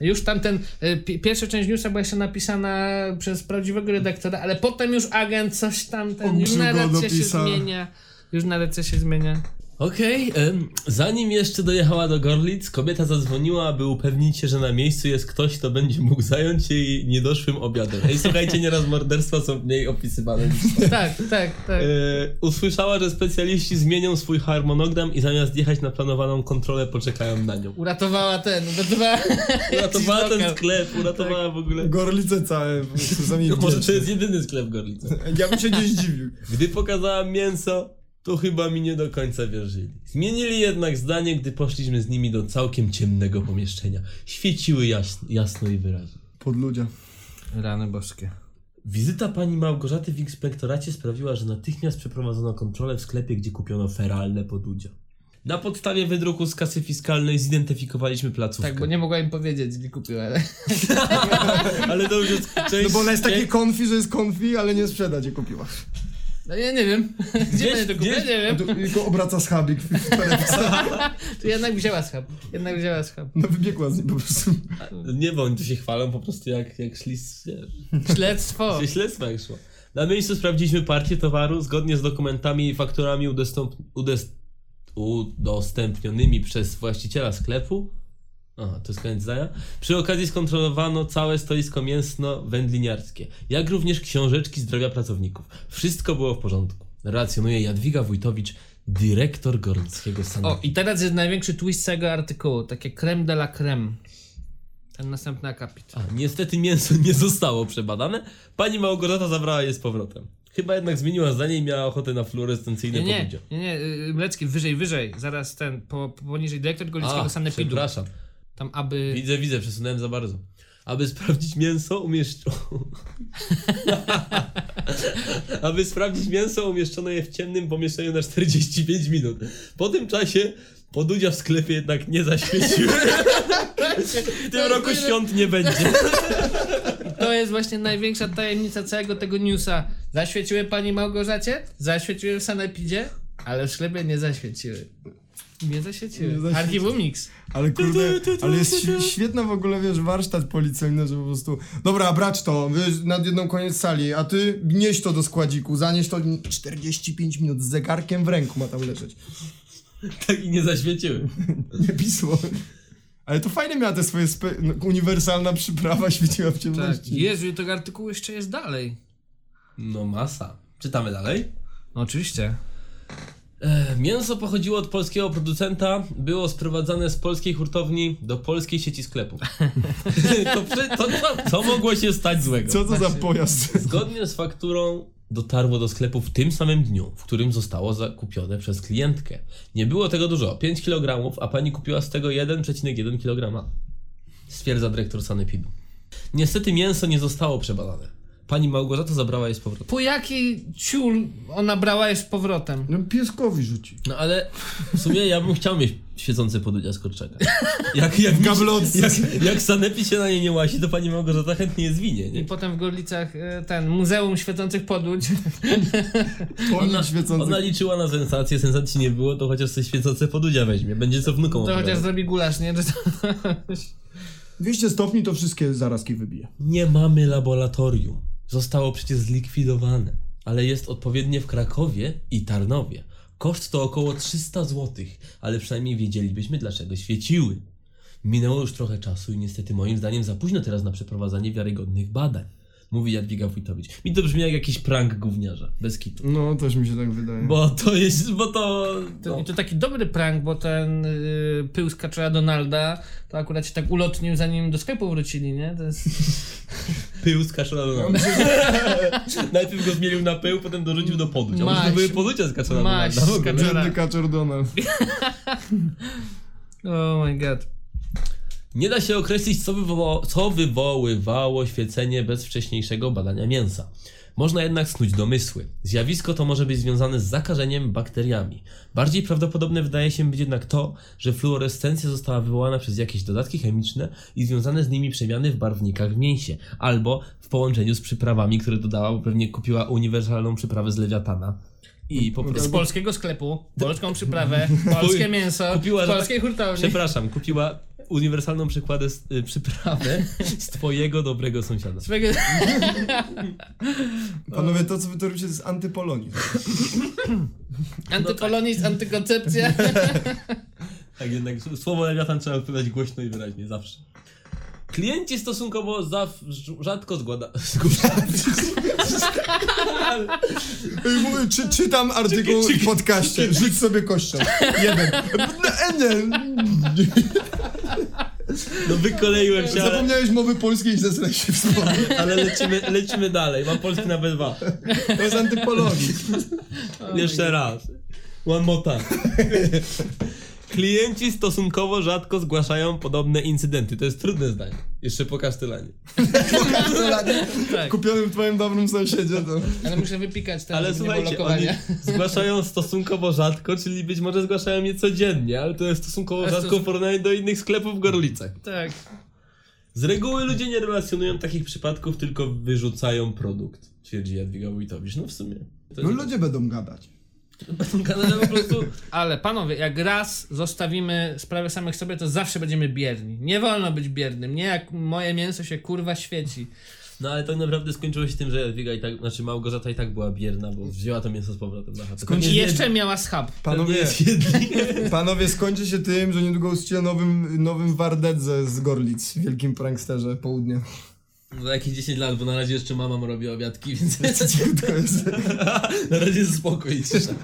[SPEAKER 5] Już tamten, e, pi- pierwsza część newsa była jeszcze napisana przez prawdziwego redaktora, ale potem już agent coś tam, ten, już
[SPEAKER 6] Ogrzył go,
[SPEAKER 5] narracja się
[SPEAKER 6] dopisał.
[SPEAKER 5] zmienia. Już narracja się zmienia.
[SPEAKER 4] Okej, em, zanim jeszcze dojechała do Gorlic, kobieta zadzwoniła, aby upewnić się, że na miejscu jest ktoś, kto będzie mógł zająć się jej niedoszłym obiadem. Ej, słuchajcie, nieraz morderstwa są mniej opisywane. niż to.
[SPEAKER 5] Tak, tak, tak.
[SPEAKER 4] E, usłyszała, że specjaliści zmienią swój harmonogram i zamiast jechać na planowaną kontrolę, poczekają na nią.
[SPEAKER 5] Uratowała ten, uratowała...
[SPEAKER 4] Uratowała ten
[SPEAKER 5] lokal.
[SPEAKER 4] sklep, uratowała w ogóle...
[SPEAKER 6] Gorlice całe, po prostu za
[SPEAKER 4] No, może to jest jedyny sklep w Gorlicy.
[SPEAKER 6] Ja bym się nie zdziwił.
[SPEAKER 4] Gdy pokazałam mięso, to chyba mi nie do końca wierzyli. Zmienili jednak zdanie, gdy poszliśmy z nimi do całkiem ciemnego pomieszczenia. Świeciły jasno, jasno i wyraźnie.
[SPEAKER 6] Pod ludzia.
[SPEAKER 5] Rany boskie.
[SPEAKER 4] Wizyta pani Małgorzaty w inspektoracie sprawiła, że natychmiast przeprowadzono kontrolę w sklepie, gdzie kupiono feralne podudzia. Na podstawie wydruku z kasy fiskalnej zidentyfikowaliśmy placówkę.
[SPEAKER 5] Tak, bo nie mogła im powiedzieć, gdzie kupiła. ale-
[SPEAKER 4] Ale to już jest część...
[SPEAKER 6] No bo ona jest
[SPEAKER 4] część-
[SPEAKER 6] takie konfi, że jest konfi, ale nie sprzeda, gdzie kupiła.
[SPEAKER 5] No ja nie wiem. Gdzie
[SPEAKER 4] Gdzieś-
[SPEAKER 5] będzie to kupić?
[SPEAKER 4] gdzieś-
[SPEAKER 5] Nie wiem.
[SPEAKER 6] Tu- Tylko obraca schabik w w torebce.
[SPEAKER 5] To jednak wzięła schab. Jednak wzięła schab.
[SPEAKER 6] No wybiegła z niej po prostu.
[SPEAKER 4] Nie, bo oni tu się chwalą po prostu jak, jak szli, z- wiesz,
[SPEAKER 5] Śledztwo.
[SPEAKER 4] Gdzie śledztwa jak szło. Na miejscu sprawdziliśmy partię towaru zgodnie z dokumentami i fakturami udostęp... udes... udostępnionymi przez właściciela sklepu. Aha, to jest koniec zdania. Przy okazji skontrolowano całe stoisko mięsno-wędliniarskie, jak również książeczki zdrowia pracowników. Wszystko było w porządku. Racjonuje Jadwiga Wójtowicz, dyrektor Gorlickiego
[SPEAKER 5] O,
[SPEAKER 4] Sanepidu.
[SPEAKER 5] i teraz jest największy twist całego artykułu. Takie creme de la creme. Ten następny akapit.
[SPEAKER 4] A, niestety mięso nie zostało przebadane. Pani Małgorzata zabrała je z powrotem. Chyba jednak zmieniła zdanie i miała ochotę na fluorescencyjne
[SPEAKER 5] Nie, nie,
[SPEAKER 4] pobudzie.
[SPEAKER 5] nie, nie, y, Mlecki, wyżej, wyżej. Zaraz ten, po, po- poniżej dyrektor Golickiego
[SPEAKER 4] A,
[SPEAKER 5] Sanepidu.
[SPEAKER 4] Przepraszam.
[SPEAKER 5] Tam aby...
[SPEAKER 4] Widzę, widzę, przesunąłem za bardzo. Aby sprawdzić mięso umieszcz... Aby sprawdzić mięso umieszczono je w ciemnym pomieszczeniu na 45 minut. Po tym czasie podudzia w sklepie jednak nie zaświecił. W tym roku świąt nie będzie.
[SPEAKER 5] To jest właśnie największa tajemnica całego tego newsa. Zaświeciły pani Małgorzacie? Zaświeciły w Sanepidzie? Ale w sklepie nie zaświeciły. Nie zaświeciły.
[SPEAKER 6] Nie zaświeciły.
[SPEAKER 5] Archiwum Mix.
[SPEAKER 6] Ale kurde, ale jest świ- świetna w ogóle, wiesz, warsztat policyjny, że po prostu dobra, brać to, wiesz, nad jedną koniec sali, a ty nieś to do składziku, zanieś to 45 minut z zegarkiem w ręku ma tam leżeć.
[SPEAKER 4] Tak i nie zaświeciły.
[SPEAKER 6] Nie pisło. Ale to fajnie miała te swoje spe- no, uniwersalna przyprawa świeciła w
[SPEAKER 5] Tak.
[SPEAKER 6] ciemności.
[SPEAKER 5] Jezu, i tego artykułu jeszcze jest dalej.
[SPEAKER 4] No masa. Czytamy dalej.
[SPEAKER 5] No oczywiście.
[SPEAKER 4] Mięso pochodziło od polskiego producenta, było sprowadzane z polskiej hurtowni do polskiej sieci sklepów. to, przy, to, to, co mogło się stać złego?
[SPEAKER 6] Co to za pojazd?
[SPEAKER 4] Zgodnie z fakturą dotarło do sklepu w tym samym dniu, w którym zostało zakupione przez klientkę. Nie było tego dużo, 5 kg, a pani kupiła z tego 1,1 kg. Stwierdza dyrektor sanepidu. Niestety mięso nie zostało przebadane. Pani Małgorzata zabrała je z powrotem.
[SPEAKER 5] Po jaki ciul ona brała je z powrotem?
[SPEAKER 6] No pieskowi rzuci.
[SPEAKER 4] No ale w sumie ja bym chciał mieć świecące podudzia z kurczaka. Jak, jak, mi-
[SPEAKER 6] gablotce.
[SPEAKER 4] jak, jak sanepid się na nie nie łasi, to pani Małgorzata chętnie je zwinie,
[SPEAKER 5] I
[SPEAKER 4] nie?
[SPEAKER 5] potem w Gorlicach e, ten Muzeum Świecących Podłódź.
[SPEAKER 6] Ona, świecący.
[SPEAKER 4] Ona liczyła na sensację, sensacji nie było, to chociaż coś świecące podudzia weźmie, będzie co wnukom
[SPEAKER 5] To chociaż
[SPEAKER 4] opowiadać.
[SPEAKER 5] zrobi gulasz, nie? Że to-
[SPEAKER 6] 200 stopni to wszystkie zarazki wybije.
[SPEAKER 4] Nie mamy laboratorium. Zostało przecież zlikwidowane, ale jest odpowiednie w Krakowie i Tarnowie. Koszt to około 300 zł, ale przynajmniej wiedzielibyśmy dlaczego świeciły. Minęło już trochę czasu i niestety moim zdaniem za późno teraz na przeprowadzanie wiarygodnych badań. Mówi Jadwiga Wójtowicz. Mi to brzmi jak jakiś prank gówniarza, bez kitu.
[SPEAKER 6] No, też mi się tak wydaje.
[SPEAKER 4] Bo to jest, bo to...
[SPEAKER 5] To,
[SPEAKER 4] no.
[SPEAKER 5] I to taki dobry prank, bo ten y, pył z kaczora Donalda to akurat się tak ulotnił, zanim do sklepu wrócili, nie? To jest...
[SPEAKER 4] Pył z kaszolana. Najpierw go zmielił na pył, potem dorzucił do poducia. Może
[SPEAKER 5] Maś.
[SPEAKER 4] to były poducia z No, kaszolana.
[SPEAKER 5] Maś z
[SPEAKER 6] Biedny
[SPEAKER 5] kaczora.
[SPEAKER 6] kaczor Donald.
[SPEAKER 5] Oh my god.
[SPEAKER 4] Nie da się określić, co, wywoła, co wywoływało świecenie bez wcześniejszego badania mięsa. Można jednak snuć domysły. Zjawisko to może być związane z zakażeniem bakteriami. Bardziej prawdopodobne wydaje się być jednak to, że fluorescencja została wywołana przez jakieś dodatki chemiczne i związane z nimi przemiany w barwnikach w mięsie, albo w połączeniu z przyprawami, które dodała, bo pewnie kupiła uniwersalną przyprawę z lewiatana. I po
[SPEAKER 5] Z
[SPEAKER 4] prostu.
[SPEAKER 5] polskiego sklepu, polską przyprawę, polskie mięso,
[SPEAKER 4] Kupiła,
[SPEAKER 5] z
[SPEAKER 4] że
[SPEAKER 5] polskiej hurtowni.
[SPEAKER 4] Przepraszam, kupiła uniwersalną przykładę z, y, przyprawę z twojego dobrego sąsiada.
[SPEAKER 5] Swego...
[SPEAKER 6] Panowie, to co wy to robicie to jest antypolonizm.
[SPEAKER 5] Antypolonizm, antykoncepcja.
[SPEAKER 4] Tak, jednak s- słowo lewiatan trzeba wypowiadać głośno i wyraźnie, zawsze. Klienci stosunkowo za, rzadko zgłada, zgłaszają.
[SPEAKER 6] Ej, mówię, Czy, czytam artykuł w podcaście. Rzuć sobie kością. Jeden. No, e, nie.
[SPEAKER 4] No wykoleiłem się, ale,
[SPEAKER 6] Zapomniałeś mowy polskiej i zesraj się w słowie.
[SPEAKER 4] ale lecimy, lecimy dalej. Mam polski na B2.
[SPEAKER 6] To jest antypolonizm.
[SPEAKER 4] Jeszcze raz. One more time. Klienci stosunkowo rzadko zgłaszają podobne incydenty. To jest trudne zdanie. Jeszcze po kasztelanie.
[SPEAKER 5] tak.
[SPEAKER 6] Kupionym twoim dobrym sąsiedzie to.
[SPEAKER 5] Ale muszę wypikać ten,
[SPEAKER 4] Ale
[SPEAKER 5] żeby nie było
[SPEAKER 4] słuchajcie, oni
[SPEAKER 5] lokowania.
[SPEAKER 4] zgłaszają stosunkowo rzadko, czyli być może zgłaszają je codziennie, ale to jest stosunkowo
[SPEAKER 5] Ale to
[SPEAKER 4] rzadko w
[SPEAKER 5] są-
[SPEAKER 4] porównaniu do innych sklepów w Gorlicach.
[SPEAKER 5] Tak.
[SPEAKER 4] Z reguły ludzie nie relacjonują takich przypadków, tylko wyrzucają produkt, twierdzi Jadwiga Wójtowicz. No w sumie. To
[SPEAKER 7] No
[SPEAKER 4] jest-
[SPEAKER 7] ludzie będą gadać.
[SPEAKER 4] Kanada po prostu...
[SPEAKER 5] Ale panowie, jak raz zostawimy sprawę samych sobie, to zawsze będziemy bierni. Nie wolno być biernym. Nie jak moje mięso się kurwa świeci.
[SPEAKER 4] No ale tak naprawdę skończyło się tym, że Jadwiga i tak, znaczy Małgorzata i tak była bierna, bo wzięła to mięso z powrotem na chatę.
[SPEAKER 7] Skończy-
[SPEAKER 5] I
[SPEAKER 7] Nie-
[SPEAKER 5] jeszcze miała schab.
[SPEAKER 4] Pewnie
[SPEAKER 7] Panowie,
[SPEAKER 4] jest jedliwe.
[SPEAKER 7] panowie, skończy się tym, że niedługo usłyszę nowym, nowym Wardedze z Gorlic, wielkim pranksterze południa.
[SPEAKER 4] Za jakieś 10 lat, bo na razie jeszcze mama mu robi obiadki, więc
[SPEAKER 7] To jest...
[SPEAKER 4] na razie jest spokój i cisza.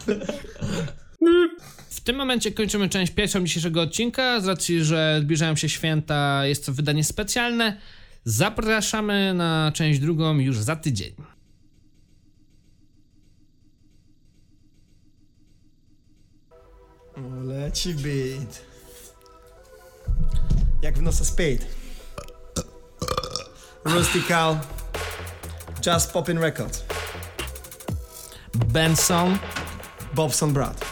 [SPEAKER 5] W tym momencie kończymy część pierwszą dzisiejszego odcinka. Z racji, że zbliżają się święta, jest to wydanie specjalne. Zapraszamy na część drugą już za tydzień.
[SPEAKER 6] Leci beat. Jak w nosa speed. Rustical. Just Poppin' Records.
[SPEAKER 5] Benson.
[SPEAKER 6] Bobson Brad.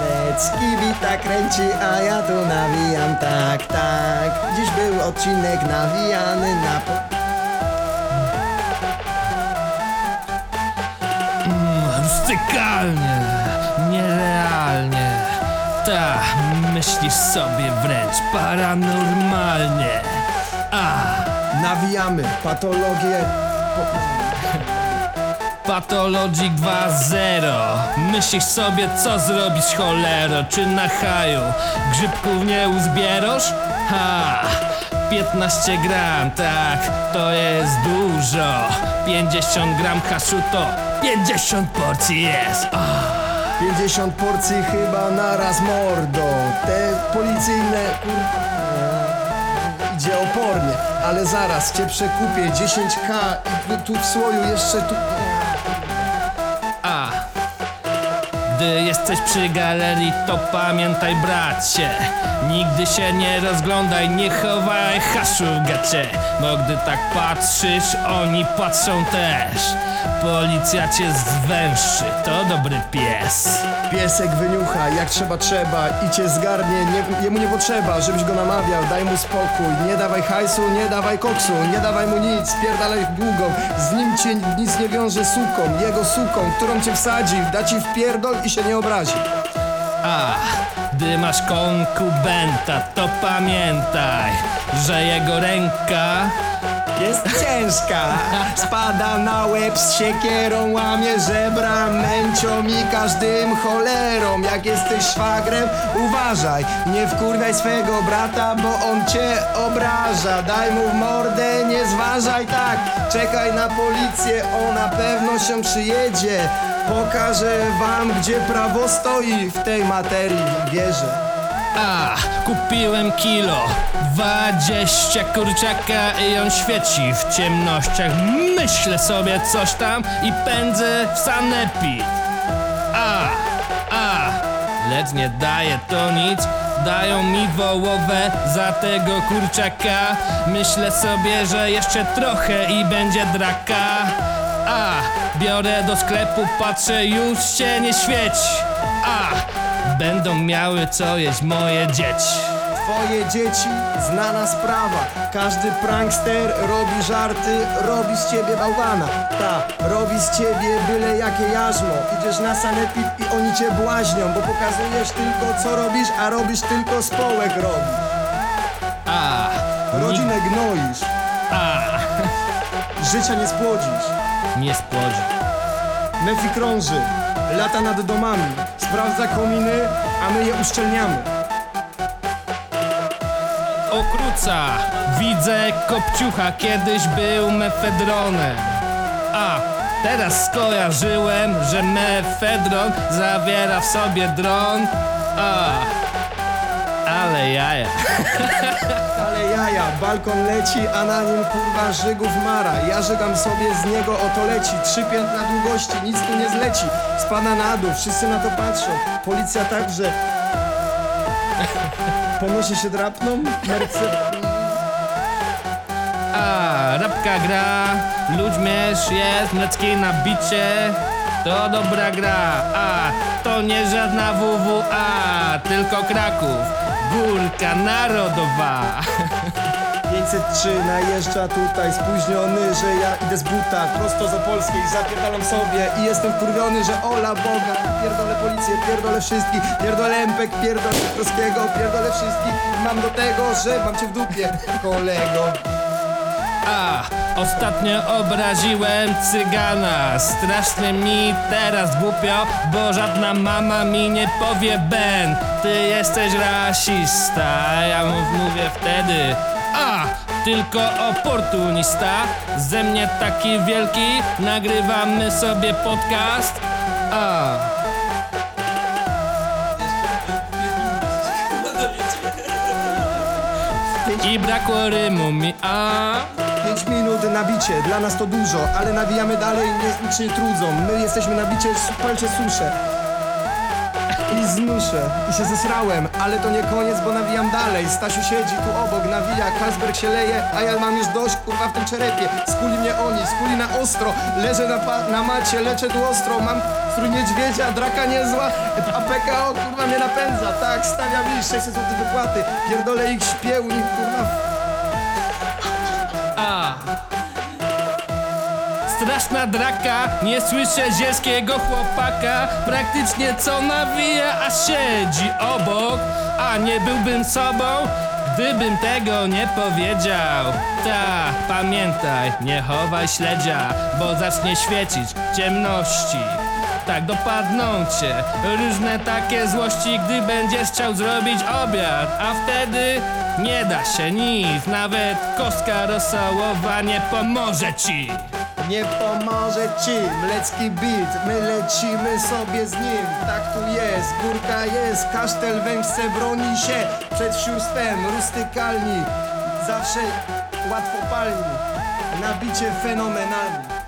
[SPEAKER 6] Lecki wita tak kręci, a ja tu nawijam tak, tak. Dziś był odcinek nawijany na po...
[SPEAKER 5] Rustykalnie, nierealnie. Ta, myślisz sobie wręcz paranormalnie. A,
[SPEAKER 7] Nawijamy patologię.
[SPEAKER 5] Pathologic 2.0 Myślisz sobie co zrobić cholero Czy na haju grzybków nie uzbierasz? Ha! 15 gram, tak, to jest dużo 50 gram kaszu to 50 porcji jest o,
[SPEAKER 6] 50 porcji chyba naraz mordo. Te policyjne kurwa. Idzie opornie, ale zaraz cię przekupię 10k i tu w słoju jeszcze tu.
[SPEAKER 5] A Gdy jesteś przy galerii to pamiętaj bracie Nigdy się nie rozglądaj, nie chowaj haszu w gacie Bo gdy tak patrzysz, oni patrzą też Policja cię zwęszy, to dobry pies
[SPEAKER 6] Piesek wyniucha, jak trzeba trzeba i cię zgarnie, nie, jemu nie potrzeba, żebyś go namawiał, daj mu spokój, nie dawaj hajsu, nie dawaj koksu, nie dawaj mu nic, spierdalaj długą, z nim cię nic nie wiąże suką, jego suką, którą cię wsadzi, da ci w pierdol i się nie obrazi.
[SPEAKER 5] A, gdy masz konkubenta, to pamiętaj Że jego ręka
[SPEAKER 6] Jest ciężka, spada na łeb z siekierą, łamie żebra, męcią i każdym cholerą. Jak jesteś szwagrem, uważaj, nie wkurwiaj swego brata, bo on cię obraża. Daj mu w mordę, nie zważaj tak, czekaj na policję, ona pewno się przyjedzie. Pokażę wam, gdzie prawo stoi w tej materii, wierzę.
[SPEAKER 5] A, kupiłem kilo 20 kurczaka i on świeci w ciemnościach Myślę sobie coś tam i pędzę w sanepid A, a, lecz nie daje to nic Dają mi wołowę za tego kurczaka Myślę sobie, że jeszcze trochę i będzie draka A, biorę do sklepu, patrzę, już się nie świeci A, będą miały co jeść moje dzieci
[SPEAKER 6] Twoje dzieci, znana sprawa Każdy prankster robi żarty Robi z ciebie bałwana Ta, robi z ciebie byle jakie jarzmo Idziesz na sanepid i oni cię błaźnią Bo pokazujesz tylko co robisz A robisz tylko społek robi
[SPEAKER 5] A,
[SPEAKER 6] Rodzinę gnoisz
[SPEAKER 5] a,
[SPEAKER 6] Życia nie spłodzisz
[SPEAKER 5] nie spłodzę
[SPEAKER 6] Mefi krąży Lata nad domami Sprawdza kominy, a my je uszczelniamy
[SPEAKER 5] okruca. Widzę kopciucha, kiedyś był mefedronem. A teraz skojarzyłem, że mefedron zawiera w sobie dron. A, ale jaja.
[SPEAKER 6] Ale jaja, balkon leci, a na nim kurwa żygów mara Ja żygam sobie, z niego oto leci Trzy piętra długości, nic tu nie zleci Spada na dół, wszyscy na to patrzą Policja także Ponosi się drapną, merce...
[SPEAKER 5] A, rapka gra, ludźmierz jest, mlecki na bicie. To dobra gra, a to nie żadna WWA, tylko Kraków, górka narodowa.
[SPEAKER 6] Więc 503 najeżdża tutaj spóźniony, że ja idę z buta prosto z Opolskiej, zapierdalam sobie i jestem wkurwiony, że ola Boga pierdolę policję, pierdolę wszystkich pierdolę Empek, pierdolę Trockiego pierdolę wszystkich, mam do tego, że mam cię w dupie, kolego
[SPEAKER 5] A, ostatnio obraziłem cygana Strasznie mi teraz głupio, bo żadna mama mi nie powie Ben, ty jesteś rasista A Ja mu mówię wtedy A, tylko oportunista Ze mnie taki wielki, nagrywamy sobie podcast A, i brakło rymu mi A
[SPEAKER 6] 5 minut na bicie, dla nas to dużo, ale nawijamy dalej, nie, nic się nie trudzą. My jesteśmy na bicie, palcie suszę. I znuszę, i się zesrałem, ale to nie koniec, bo nawijam dalej. Stasiu siedzi tu obok, nawija, Kasberg się leje, a ja mam już dość, kurwa, w tym czerepie. Skuli mnie oni, skuli na ostro, leżę na, pa- na macie, leczę tu ostro, mam strój niedźwiedzia, draka niezła, a PKO, kurwa, mnie napędza. Tak, stawiam mi 600 zł wypłaty, pierdolę ich śpiełni, kurwa, w
[SPEAKER 5] A. Straszna draka, nie słyszę zielskiego chłopaka Praktycznie co nawija, a siedzi obok A nie byłbym sobą, gdybym tego nie powiedział Ta, pamiętaj, nie chowaj śledzia Bo zacznie świecić w ciemności tak dopadną cię różne takie złości, gdy będziesz chciał zrobić obiad, a wtedy nie da się nic, nawet kostka rosołowa nie pomoże ci.
[SPEAKER 6] Nie pomoże ci mlecki beat, my lecimy sobie z nim. Tak tu jest, górka jest, kasztel węgce broni się przed sióstwem, rustykalni, zawsze łatwo palni, nabicie fenomenalni.